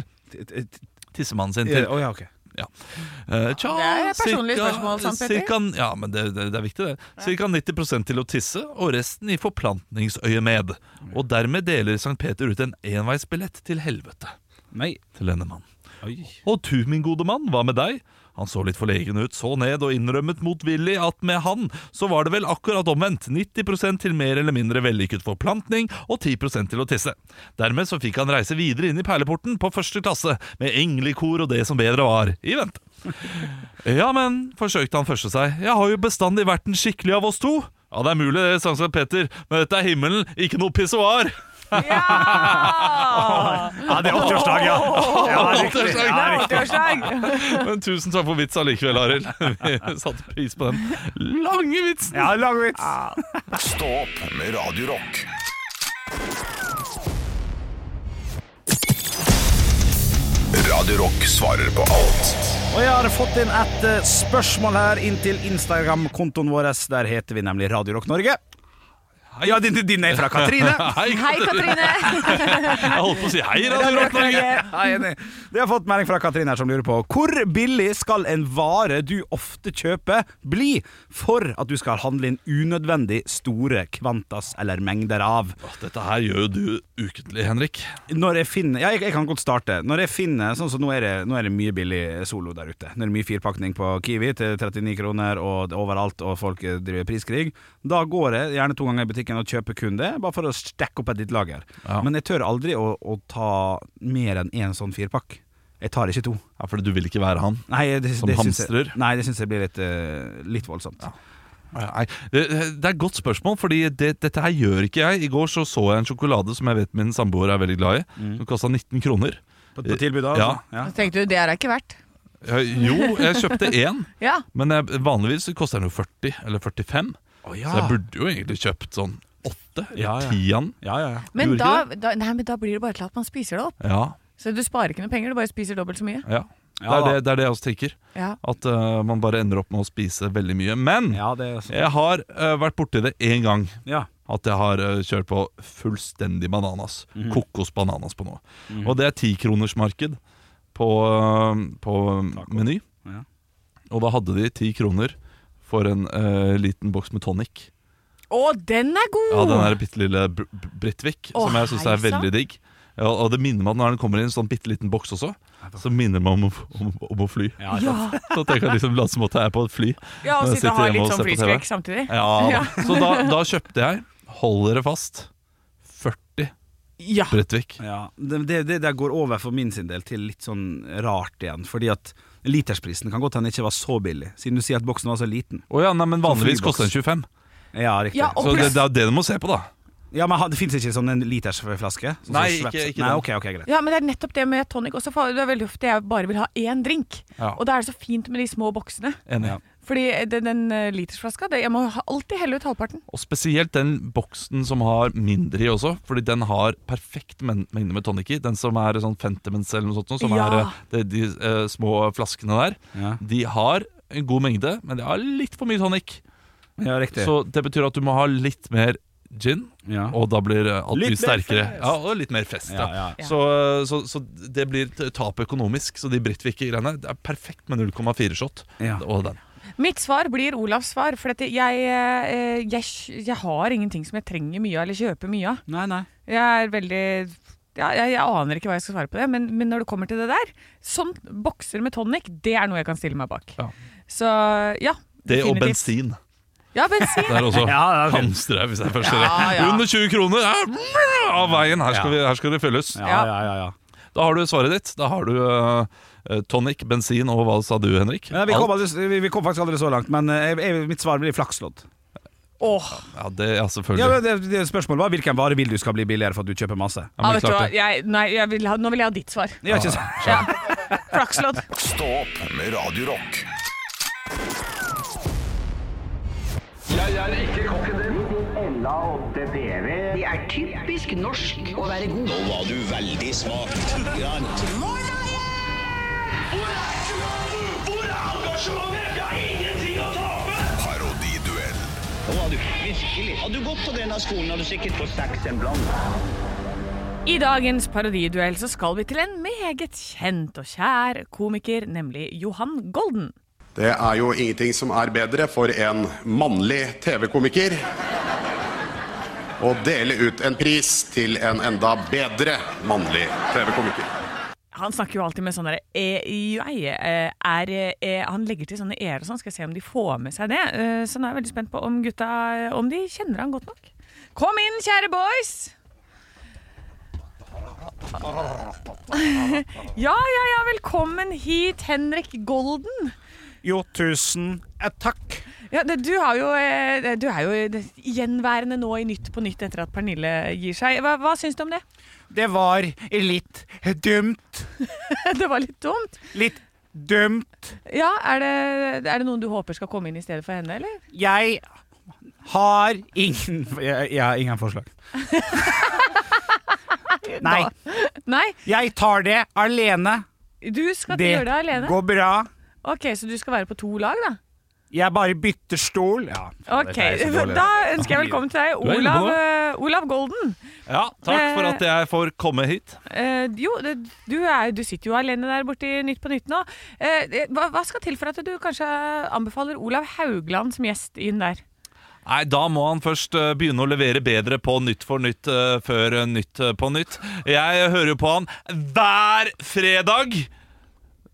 [SPEAKER 3] Tissemannen sin
[SPEAKER 2] Ja,
[SPEAKER 3] til.
[SPEAKER 2] å ja, ok.
[SPEAKER 3] Eh, tja,
[SPEAKER 8] Det er et personlig
[SPEAKER 3] cirka-
[SPEAKER 8] spørsmål, Sant Peter.
[SPEAKER 3] Cirka, ja, men det, det, det er viktig, det. Cirka 90 til å tisse, og resten i forplantningsøyemed. Og dermed deler Sankt Peter ut en enveisbillett til helvete
[SPEAKER 2] Nei.
[SPEAKER 3] til denne mannen.
[SPEAKER 2] Oi.
[SPEAKER 3] Og du, min gode mann, hva med deg? Han så litt forlegen ut, så ned og innrømmet motvillig at med han så var det vel akkurat omvendt, 90 til mer eller mindre vellykket forplantning og 10 til å tisse. Dermed så fikk han reise videre inn i perleporten på første klasse, med englekor og det som bedre var, i vente. Ja, men, forsøkte han første seg, jeg har jo bestandig vært den skikkelige av oss to. Ja, det er mulig det, sang Sankt Peter, men dette er himmelen, ikke noe pissoar.
[SPEAKER 8] Ja!
[SPEAKER 2] Ja, det er 80-årsdag, ja. ja det er riktig.
[SPEAKER 3] Åttiårsdag.
[SPEAKER 2] Ja, det er riktig.
[SPEAKER 8] Åttiårsdag!
[SPEAKER 3] Men tusen takk for vits allikevel, Arild. Vi satte pris på den lange vitsen.
[SPEAKER 2] Ja, lang vits.
[SPEAKER 1] Stå opp med Radio Rock. Radio Rock svarer på alt.
[SPEAKER 2] Og jeg har fått inn et eh, spørsmål her inn til Instagram-kontoen vår. Der heter vi nemlig Radio Rock Norge. Ja, din, din er fra Katrine.
[SPEAKER 3] Hei,
[SPEAKER 8] Hei, Katrine!
[SPEAKER 3] Jeg holdt på å si hei, Radio Rock Norge.
[SPEAKER 2] Ja, enig. Vi har fått melding fra Katrine her som lurer på hvor billig skal en vare du ofte kjøper, bli for at du skal handle inn unødvendig store kvantas eller mengder av?
[SPEAKER 3] Åh, Dette her gjør jo du ukentlig, Henrik.
[SPEAKER 2] Når jeg finner Ja, jeg, jeg kan godt starte. Når jeg finner Sånn som nå er det, nå er det mye billig solo der ute. Nå er det mye firpakning på Kiwi til 39 kroner og overalt, og folk eh, driver priskrig. Da går jeg gjerne to ganger i butikken og kjøper kun det, bare for å stekke opp et ditt lager.
[SPEAKER 3] Ja.
[SPEAKER 2] Men jeg tør aldri å, å ta mer enn én sånn firpakk. Jeg tar ikke to.
[SPEAKER 3] Ja, Fordi du vil ikke være han.
[SPEAKER 2] Nei, det,
[SPEAKER 3] Som
[SPEAKER 2] det syns
[SPEAKER 3] Sånn hamstrer?
[SPEAKER 2] Jeg, nei, det syns jeg blir litt, eh, litt voldsomt.
[SPEAKER 3] Nei, Det det er et godt spørsmål, Fordi det, dette her gjør ikke jeg. I går så, så jeg en sjokolade som jeg vet min samboer er veldig glad i.
[SPEAKER 2] Mm.
[SPEAKER 3] Den kosta 19 kroner.
[SPEAKER 2] På, på tilbud, da?
[SPEAKER 3] Ja.
[SPEAKER 2] altså? Ja.
[SPEAKER 8] Så tenkte du, det er da ikke verdt.
[SPEAKER 3] Eh, Jo, jeg kjøpte én,
[SPEAKER 8] Ja.
[SPEAKER 3] men jeg, vanligvis så koster den jo 40 eller 45. Så jeg burde jo egentlig kjøpt sånn åtte
[SPEAKER 2] Ja, ja.
[SPEAKER 3] eller ti av den.
[SPEAKER 2] Ja, ja, ja.
[SPEAKER 8] Men
[SPEAKER 3] Gjorde
[SPEAKER 8] da, da, nei, men da blir det bare til at man spiser det opp.
[SPEAKER 3] Ja,
[SPEAKER 8] Så du sparer ikke noe penger, du bare spiser dobbelt så mye.
[SPEAKER 3] ja. Det,
[SPEAKER 2] Ja
[SPEAKER 3] er
[SPEAKER 2] da.
[SPEAKER 3] det, det er det jeg også tenker.
[SPEAKER 8] Ja.
[SPEAKER 3] At eh, man bare ender opp med å spise veldig mye. Men
[SPEAKER 2] ja, det er sant.
[SPEAKER 3] jeg har eh, vært borti det én gang.
[SPEAKER 2] Ja.
[SPEAKER 3] At jeg har eh, kjørt på fullstendig bananas.
[SPEAKER 2] Mhm.
[SPEAKER 3] Kokos bananas på noe. Og det er tikronersmarked på, eh, på
[SPEAKER 2] Taco.
[SPEAKER 3] Meny.
[SPEAKER 2] Ja.
[SPEAKER 3] Og da hadde de ti kroner for en eh, liten boks med tonic.
[SPEAKER 8] Å, den er god!
[SPEAKER 3] Ja, den der bitte lille Br- Br- Britvik,
[SPEAKER 8] Å,
[SPEAKER 3] som jeg syns er
[SPEAKER 8] hei sann.
[SPEAKER 3] veldig digg. Ja, og det minner meg at når den kommer i en sånn bitte liten boks også, så minner det meg om, å- om, om å fly.
[SPEAKER 2] Ja,
[SPEAKER 8] ja.
[SPEAKER 3] Så tenker jeg liksom late som at jeg er på et fly.
[SPEAKER 8] ja, og
[SPEAKER 3] Når jeg
[SPEAKER 8] sitte og ha
[SPEAKER 3] sitter hjemme
[SPEAKER 8] litt
[SPEAKER 3] og
[SPEAKER 8] sånn
[SPEAKER 3] ser på TV.
[SPEAKER 8] flyskrekk samtidig.
[SPEAKER 3] Ja,
[SPEAKER 8] Ja.
[SPEAKER 3] Så da, da kjøpte jeg, hold dere fast, 40
[SPEAKER 8] Ja.
[SPEAKER 3] Bredtvik.
[SPEAKER 2] Ja, det, det, det der går over for min sin del til litt sånn rart igjen. Fordi at litersprisen kan godt hende ikke var så billig, siden du sier at boksen var så liten.
[SPEAKER 3] Å ja, nei, men vanligvis
[SPEAKER 2] Som flyboks.
[SPEAKER 3] koster den 25.
[SPEAKER 2] Ja, riktig.
[SPEAKER 8] Ja,
[SPEAKER 2] Ja,
[SPEAKER 8] og-
[SPEAKER 3] Så det, det er jo det du må se på, da.
[SPEAKER 2] men ha- Det fins ikke sånn en litersflaske? Sånn som
[SPEAKER 3] Nei,
[SPEAKER 2] Schweppes?
[SPEAKER 3] ikke- ikke
[SPEAKER 2] Nei,
[SPEAKER 3] den.
[SPEAKER 2] ok, ok, greit.
[SPEAKER 8] Ja, men det er nettopp det med tonic også. For det er veldig ofte jeg bare vil ha én drink.
[SPEAKER 3] Ja.
[SPEAKER 8] Og da er det så fint med de små boksene.
[SPEAKER 3] Enig.
[SPEAKER 8] Fordi den, den eh, litersflaska, det, jeg må ha- alltid helle ut halvparten.
[SPEAKER 3] Og spesielt den boksen som har mindre i også, fordi den har perfekt men mengde med tonic i. Den som er sånn Fentimans eller noe sånt, noe, som
[SPEAKER 8] Ja.
[SPEAKER 3] er eh, de, de eh, små flaskene der.
[SPEAKER 2] Ja,
[SPEAKER 3] De har en god mengde, men de har litt for mye tonic.
[SPEAKER 2] ja riktig.
[SPEAKER 3] Så det betyr at du må ha litt mer gin,
[SPEAKER 2] ja.
[SPEAKER 3] og da blir eh, alt
[SPEAKER 2] Litt
[SPEAKER 3] mye
[SPEAKER 2] mer
[SPEAKER 3] sterkere.
[SPEAKER 2] fest.
[SPEAKER 3] Ja, og litt mer fest, ja.
[SPEAKER 2] Ja, ja.
[SPEAKER 8] Ja.
[SPEAKER 3] Så, så, så det blir t- tap økonomisk. Så de Britvik-greiene Det er perfekt med 0,4 shot.
[SPEAKER 2] Ja.
[SPEAKER 3] Og den.
[SPEAKER 8] Mitt svar blir Olavs svar, for dette, jeg, eh, jeg, kj- jeg har ingenting som jeg trenger mye av, eller kjøper mye av.
[SPEAKER 2] Nei, nei.
[SPEAKER 8] Jeg er veldig ja, jeg, jeg aner ikke hva jeg skal svare på det, men, men når det kommer til det der Sånn bokser med tonic, det er noe jeg kan stille meg bak.
[SPEAKER 3] Ja.
[SPEAKER 8] Så ja.
[SPEAKER 3] Det
[SPEAKER 8] definitivt.
[SPEAKER 3] og bensin.
[SPEAKER 8] Ja, bensin.
[SPEAKER 3] Det er også
[SPEAKER 2] Ja, det er fint.
[SPEAKER 3] hamstre, hvis jeg først ser det.
[SPEAKER 8] Ja, ja.
[SPEAKER 3] Under 20 kroner ja, av veien! Her skal, vi, her skal det fylles.
[SPEAKER 2] Ja, ja, ja, ja.
[SPEAKER 3] Da har du svaret ditt. Da har du eh, tonic, bensin og hva sa du, Henrik?
[SPEAKER 2] Men vi, kom
[SPEAKER 3] Alt.
[SPEAKER 2] aldri, vi, vi kom faktisk aldri så langt, men eh, jeg, jeg, mitt svar blir flakslodd.
[SPEAKER 4] Åh,
[SPEAKER 3] Ja, det, ja
[SPEAKER 2] Ja,
[SPEAKER 3] selvfølgelig.
[SPEAKER 2] men det, det Spørsmålet var hvilken vare vil du skal bli billigere for at du kjøper masse.
[SPEAKER 3] Ja,
[SPEAKER 4] ja,
[SPEAKER 3] men
[SPEAKER 4] vet du hva?
[SPEAKER 3] klart det.
[SPEAKER 4] Jeg, nei, jeg vil ha, nå vil jeg ha ditt svar.
[SPEAKER 2] Jeg har ikke sagt-
[SPEAKER 4] Ja. Flakslodd.
[SPEAKER 9] Stå opp med Radio Rock.
[SPEAKER 10] Det er typisk norsk å være god. Nå var du veldig smart.
[SPEAKER 9] Parodiduell.
[SPEAKER 10] Nå var du virkelig. Hadde du gått på denne skolen, hadde du sikkert fått seks en blank.
[SPEAKER 4] I dagens parodiduell så skal vi til en meget kjent og kjær komiker, nemlig Johan Golden.
[SPEAKER 1] Det er jo ingenting som er bedre for en mannlig TV-komiker å dele ut en pris til en enda bedre mannlig TV-komiker.
[SPEAKER 4] Han snakker jo alltid med sånne der, e, jeg, eh, er, eh, Han legger til sånne er og sånn, skal jeg se om de får med seg det. Eh, Så nå er jeg veldig spent på om gutta eh, Om de kjenner han godt nok. Kom inn, kjære boys! Ja, ja, ja, velkommen hit, Henrik Golden.
[SPEAKER 2] Jo, tusen eh, takk.
[SPEAKER 4] Ja, det, du, har jo, eh, du er jo det- gjenværende nå i Nytt på nytt etter at Pernille gir seg. Hva, hva syns du om det?
[SPEAKER 2] Det var litt dumt.
[SPEAKER 4] Det var litt dumt.
[SPEAKER 2] Litt dumt.
[SPEAKER 4] Ja, er det, er det noen du håper skal komme inn i stedet for henne, eller?
[SPEAKER 2] Jeg har ingen Jeg, jeg har ingen forslag. Nei.
[SPEAKER 4] Nei,
[SPEAKER 2] Jeg tar det alene.
[SPEAKER 4] du skal
[SPEAKER 2] Det
[SPEAKER 4] gjøre det alene.
[SPEAKER 2] går bra.
[SPEAKER 4] Ok, Så du skal være på to lag, da?
[SPEAKER 2] Jeg bare bytter stol. Ja, faen,
[SPEAKER 4] Ok,
[SPEAKER 2] dette er så dårlig.
[SPEAKER 4] Da ønsker jeg velkommen til deg,
[SPEAKER 3] Du er inne på
[SPEAKER 4] Olav, eh, Olav Golden.
[SPEAKER 3] Ja, takk for at jeg får komme hit.
[SPEAKER 4] Eh, jo, det- du, er, du sitter jo alene der borte i Nytt på Nytt nå. Eh, det- hva, hva skal til for at du kanskje anbefaler Olav Haugland som gjest inn der?
[SPEAKER 3] Nei, da må han først eh, begynne å levere bedre på Nytt for nytt eh, før eh, Nytt eh, på nytt. Jeg hører jo på han hver fredag!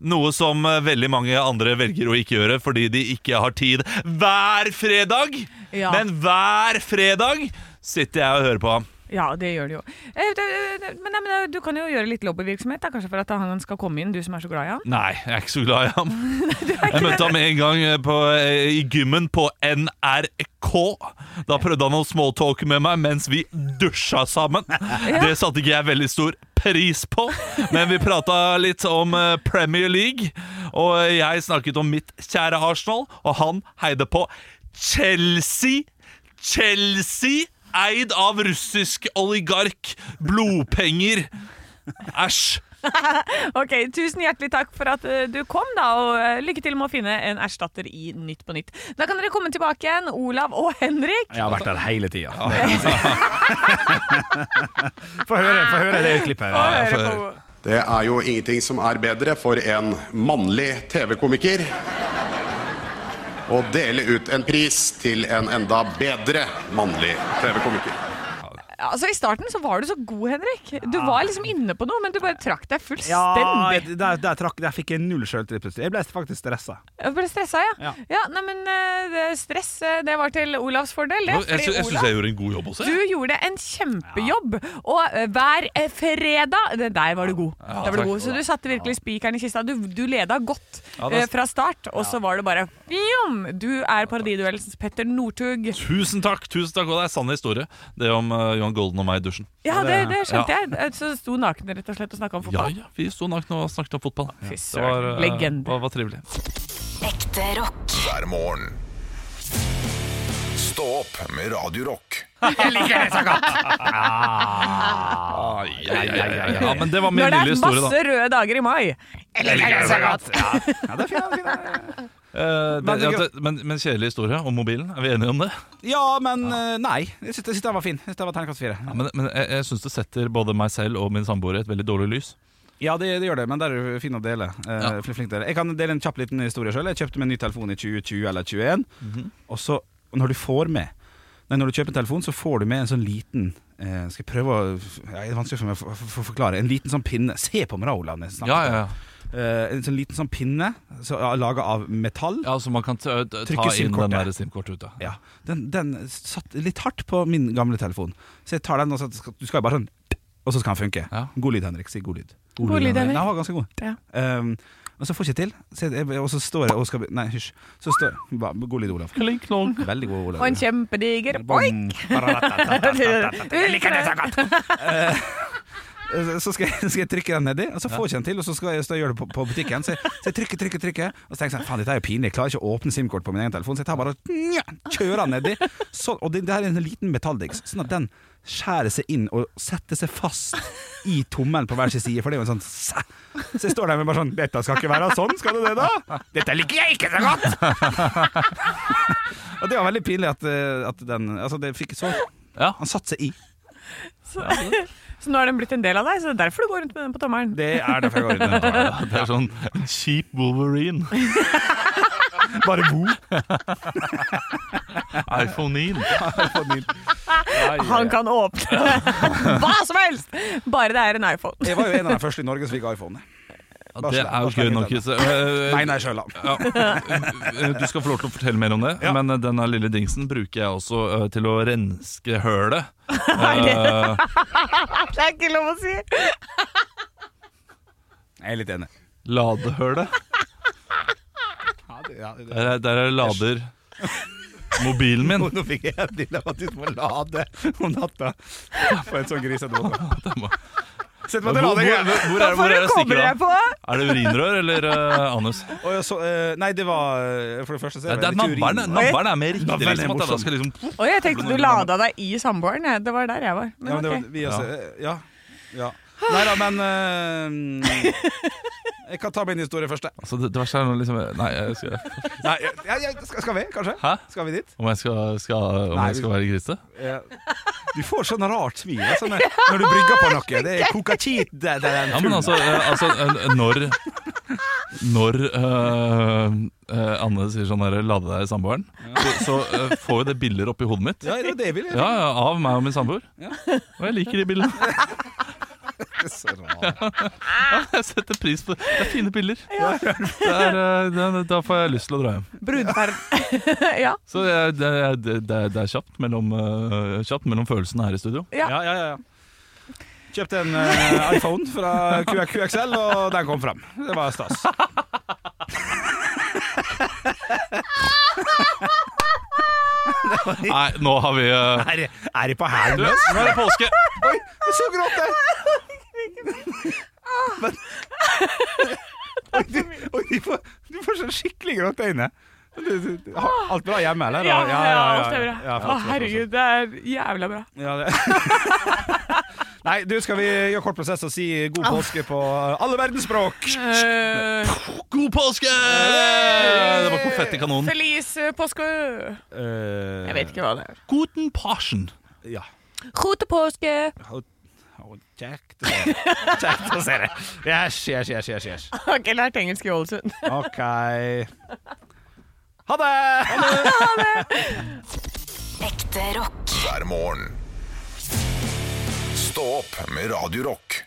[SPEAKER 3] Noe som eh, veldig mange andre velger å ikke gjøre fordi de ikke har tid hver fredag.
[SPEAKER 4] Ja.
[SPEAKER 3] Men hver fredag sitter jeg og hører på ham.
[SPEAKER 4] Ja, det gjør det jo. Eh, det- det- men, nei, men eh, du kan jo gjøre litt lobbyvirksomhet da, kanskje for at han skal komme inn, du som er så glad i han.
[SPEAKER 3] Nei, jeg er ikke så glad i ham. Jeg møtte ham en gang eh, på, eh, i gymmen på NRK. Da prøvde han å smalltalke med meg mens vi dusja sammen. Det satte ikke jeg veldig stor pris på, men vi prata litt om eh, Premier League. Og eh, jeg snakket om mitt kjære Arsenal, og han heide på Chelsea. Chelsea, eid av russisk oligark. Blodpenger. Æsj.
[SPEAKER 4] Ok, Tusen hjertelig takk for at eh, du kom, da, og eh, lykke til med å finne en erstatter i Nytt på Nytt. Da kan dere komme tilbake igjen, Olav og Henrik.
[SPEAKER 2] Jeg har vært der hele tida. Få høre, få høre det klippet. her.
[SPEAKER 3] Ja, for-
[SPEAKER 1] Det er jo ingenting som er bedre for en mannlig TV-komiker å dele ut en pris til en enda bedre mannlig TV-komiker.
[SPEAKER 4] Altså, I starten så var du så god, Henrik. Du
[SPEAKER 3] Ah.
[SPEAKER 4] var liksom inne på noe, men du bare trakk deg
[SPEAKER 2] Ja,
[SPEAKER 4] fullstendig.
[SPEAKER 2] der, der, trakk, der fikk jeg null sjøltillit plutselig. Jeg ble faktisk stressa.
[SPEAKER 4] Jeg ble stressa, ja.
[SPEAKER 2] Ja.
[SPEAKER 4] ja. nei, men eh, det- stress, eh, det var til Olavs fordel, det.
[SPEAKER 3] Jeg, jeg, sy- jeg syns
[SPEAKER 4] Olav,
[SPEAKER 3] jeg gjorde en god jobb også.
[SPEAKER 4] du
[SPEAKER 3] jeg.
[SPEAKER 4] gjorde en kjempejobb, og eh, hver eh, fredag det- Der var du god. der var
[SPEAKER 3] takk.
[SPEAKER 4] du god. Så du satte virkelig spikeren i kista. Du, du leda godt
[SPEAKER 3] Ja, det-
[SPEAKER 4] eh, fra start, og så var det bare fjom! Du er parodiduellens Petter Northug.
[SPEAKER 3] Tusen takk, tusen takk, og det er sann historie. Det om eh, Johan Golden og meg i dusjen.
[SPEAKER 4] Ja, det, det skjønte
[SPEAKER 3] Ja.
[SPEAKER 4] jeg. Eh, Så sto nakne rett og slett og snakka om
[SPEAKER 3] Ja,
[SPEAKER 4] fotball.
[SPEAKER 3] ja, vi sto nakne og snakket om fotball.
[SPEAKER 4] Fy
[SPEAKER 3] Det var,
[SPEAKER 4] søren.
[SPEAKER 3] eh,
[SPEAKER 4] Legende.
[SPEAKER 3] var, var trivelig.
[SPEAKER 11] Ekte rock.
[SPEAKER 9] hver morgen. Stå opp med Radio Rock.
[SPEAKER 3] Ja, ja, ja, ja. men det var min
[SPEAKER 4] Når det er
[SPEAKER 3] lille historie, da.
[SPEAKER 4] masse røde dager i mai.
[SPEAKER 2] Ja, det er fint, det er fint.
[SPEAKER 3] Eh, det,
[SPEAKER 2] Men-
[SPEAKER 3] ja, det, men, men kjedelig historie om mobilen. Er vi enige om det?
[SPEAKER 2] Ja, men eh, nei. Jeg syns den var fin. Jeg synes det var Terningkast fire.
[SPEAKER 3] Ja, men men jeg, jeg syns det setter både meg selv og min samboer i et veldig dårlig lys.
[SPEAKER 2] Ja, det, det gjør det, men der er du fin å dele. Eh, fl- flink til det. Jeg kan dele en kjapp liten historie sjøl. Jeg kjøpte meg en ny telefon i 2020 eller 2021.
[SPEAKER 3] Mhm.
[SPEAKER 2] Og så, når du får med nei, Når du kjøper en telefon, så får du med en sånn liten eh, Skal jeg prøve å ja, Det er vanskelig for meg å f- f- f- forklare. En liten sånn pinne. Se på meg, da, Olav. når jeg snakker.
[SPEAKER 3] Ja, ja, ja.
[SPEAKER 2] Eh, en sånn liten sånn pinne så, ja, laga av metall.
[SPEAKER 3] ja Så man kan ta, ta
[SPEAKER 2] Trykke
[SPEAKER 3] inn den
[SPEAKER 2] SIM-kortet.
[SPEAKER 3] der SIM-kortet ut, ja.
[SPEAKER 2] Ja, den, den satt litt hardt på min gamle telefon. Så jeg tar den og så skal, Du skal jo bare sånn og så skal han funke.
[SPEAKER 3] Ja.
[SPEAKER 2] God lyd, Henrik. Si god lyd.
[SPEAKER 4] God lyd, Henrik.
[SPEAKER 2] Nei, han var ganske god.
[SPEAKER 4] Ja.
[SPEAKER 2] Um, og så får jeg ikke til. Så jeg, og så står jeg og skal Nei, hysj. Så står Hva, God lyd, Olaf.
[SPEAKER 3] Klink, klonk.
[SPEAKER 2] Veldig god, Olaf.
[SPEAKER 4] Og en kjempediger
[SPEAKER 2] Bom.
[SPEAKER 4] Jeg liker det så godt!
[SPEAKER 2] Så skal jeg, skal jeg trykke den nedi, og så får jeg ikke den til. Og så skal jeg stå og gjøre det på, på butikken. Så jeg, så jeg trykker, trykker, trykker. Og så tenker jeg sånn, faen, dette er jo pinlig. Jeg klarer ikke å åpne SIM-kort på min egen telefon, så jeg tar bare og nja, kjører den nedi. Så, og det, det her er en liten metalldiks, sånn at den skjærer seg inn og setter seg fast i tommelen på hver sin side. For det er jo en sånn sæ. Så jeg står der med bare sånn Dette skal ikke være sånn, skal det det, da? Dette liker jeg ikke så godt! og det var veldig pinlig at, eh, at den Altså, det fikk så
[SPEAKER 3] Ja.
[SPEAKER 2] Han satte seg i.
[SPEAKER 4] Så nå er den blitt en del av deg, så det er derfor du går rundt med den på tommelen.
[SPEAKER 2] Det er derfor jeg går inn i den.
[SPEAKER 3] Ja, Det er sånn en cheap Wolverine.
[SPEAKER 2] Bare bo.
[SPEAKER 3] iPhone 9.
[SPEAKER 4] Han kan åpne hva som helst! Bare det er en iPhone.
[SPEAKER 2] Jeg var jo en av de første i Norge som fikk iPhone.
[SPEAKER 3] Ja, Det er jo gøy nok. Kisse. Eh,
[SPEAKER 2] Nei, nei, sjøl, da.
[SPEAKER 3] Ja. Eh, Du skal få lov til å fortelle mer om det,
[SPEAKER 2] Ja.
[SPEAKER 3] men eh, denne lille dingsen bruker jeg også eh, til å renske hølet. Eh,
[SPEAKER 4] Det er ikke lov å si!
[SPEAKER 2] Jeg er litt enig.
[SPEAKER 3] ladehølet. Eh,
[SPEAKER 2] Ja, det,
[SPEAKER 3] Der, er- der er lader mobilen min.
[SPEAKER 2] Nå fikk jeg en del av at du må lade om natta på en sånn grisete måte.
[SPEAKER 3] Det må-
[SPEAKER 2] Sett
[SPEAKER 3] Hvor,
[SPEAKER 2] meg til
[SPEAKER 3] hvor, hvor,
[SPEAKER 2] lading!
[SPEAKER 3] er-
[SPEAKER 2] jeg.
[SPEAKER 3] hvor er, hvor er det stikker
[SPEAKER 4] Kommer jeg
[SPEAKER 3] av?
[SPEAKER 4] på?
[SPEAKER 3] Er det urinrør eller eh, anus?
[SPEAKER 2] Og jeg så, eh, nei, det var eh, For det første så
[SPEAKER 3] Det
[SPEAKER 2] er
[SPEAKER 3] er
[SPEAKER 2] det litt
[SPEAKER 3] nabberen,
[SPEAKER 2] urin.
[SPEAKER 3] nabberen er mer riktig.
[SPEAKER 2] Nabberen er
[SPEAKER 3] Liksom, at jeg da
[SPEAKER 2] morsom.
[SPEAKER 3] skal liksom
[SPEAKER 4] Oi, jeg tenkte du lada deg i samboeren. jeg. Det var der jeg var.
[SPEAKER 2] Ja, men
[SPEAKER 4] Men
[SPEAKER 2] det
[SPEAKER 4] ok.
[SPEAKER 2] var, vi også, eh, ja. ja. Nei da, men eh, Jeg kan ta min historie først. jeg.
[SPEAKER 3] altså, det, det verste er noe liksom Nei, jeg skal,
[SPEAKER 2] Nei, jeg, jeg, skal, skal vi, kanskje?
[SPEAKER 3] hæ?
[SPEAKER 2] Skal vi dit?
[SPEAKER 3] Om jeg skal, skal, om
[SPEAKER 2] Nei,
[SPEAKER 3] jeg skal være grisete?
[SPEAKER 2] Ja. Du får sånn rart smil altså, når, når du brygger på noe. Det er kokakit. Det, det er en
[SPEAKER 3] Ja, men
[SPEAKER 2] tull.
[SPEAKER 3] altså, eh, altså eh, når Når eh, eh, Anne sier sånn der 'lade deg i samboeren', så, så eh, får jo det bilder oppi hodet mitt.
[SPEAKER 2] Ja, det var det jeg ville.
[SPEAKER 3] Ja, ja, Av meg og min samboer. Og jeg liker de bildene.
[SPEAKER 2] Så rart.
[SPEAKER 3] Jeg setter pris på det. Det er fine bilder. Det er, eh, det- da får jeg lyst til å dra hjem.
[SPEAKER 4] Brudeferd. ja.
[SPEAKER 3] Så det, er- det, er- det, er- det er kjapt mellom, eh, kjapt mellom følelsene her i studio.
[SPEAKER 2] Ja, ja, ja, ja. Kjøpte en eh, iPhone fra QXL, og den kom fram. Det var stas.
[SPEAKER 3] Nei, nå har vi eh,
[SPEAKER 2] Er, er de på hælen
[SPEAKER 3] du, Nå er det påske!
[SPEAKER 2] Oi, så gråt jeg! Men Oi, du, oi, du, får, du får sånn skikkelig gråt øyne. Du- du- har- Alt bra hjemme, eller?
[SPEAKER 4] Ja, ja, alt er bra.
[SPEAKER 2] Ja, flott,
[SPEAKER 4] Å,
[SPEAKER 2] flott, flott.
[SPEAKER 4] herregud, det er jævla bra.
[SPEAKER 2] Ja, det. Nei, du, skal vi gjøre kort prosess og si god påske på alle verdens språk?
[SPEAKER 3] God påske! Det var konfettikanonen.
[SPEAKER 4] Feliz påske! Jeg vet ikke hva det er.
[SPEAKER 3] Guten Passion.
[SPEAKER 2] Ja.
[SPEAKER 4] Gode påske!
[SPEAKER 2] Å, Kjekt å se det. Kjekt å se det. Yes, yes, yes, yes, yes.
[SPEAKER 4] Har ikke lært engelsk i Ålesund.
[SPEAKER 2] OK. Ha det!
[SPEAKER 5] Ekte rock.
[SPEAKER 1] hver morgen. Stå opp med Radio Rock.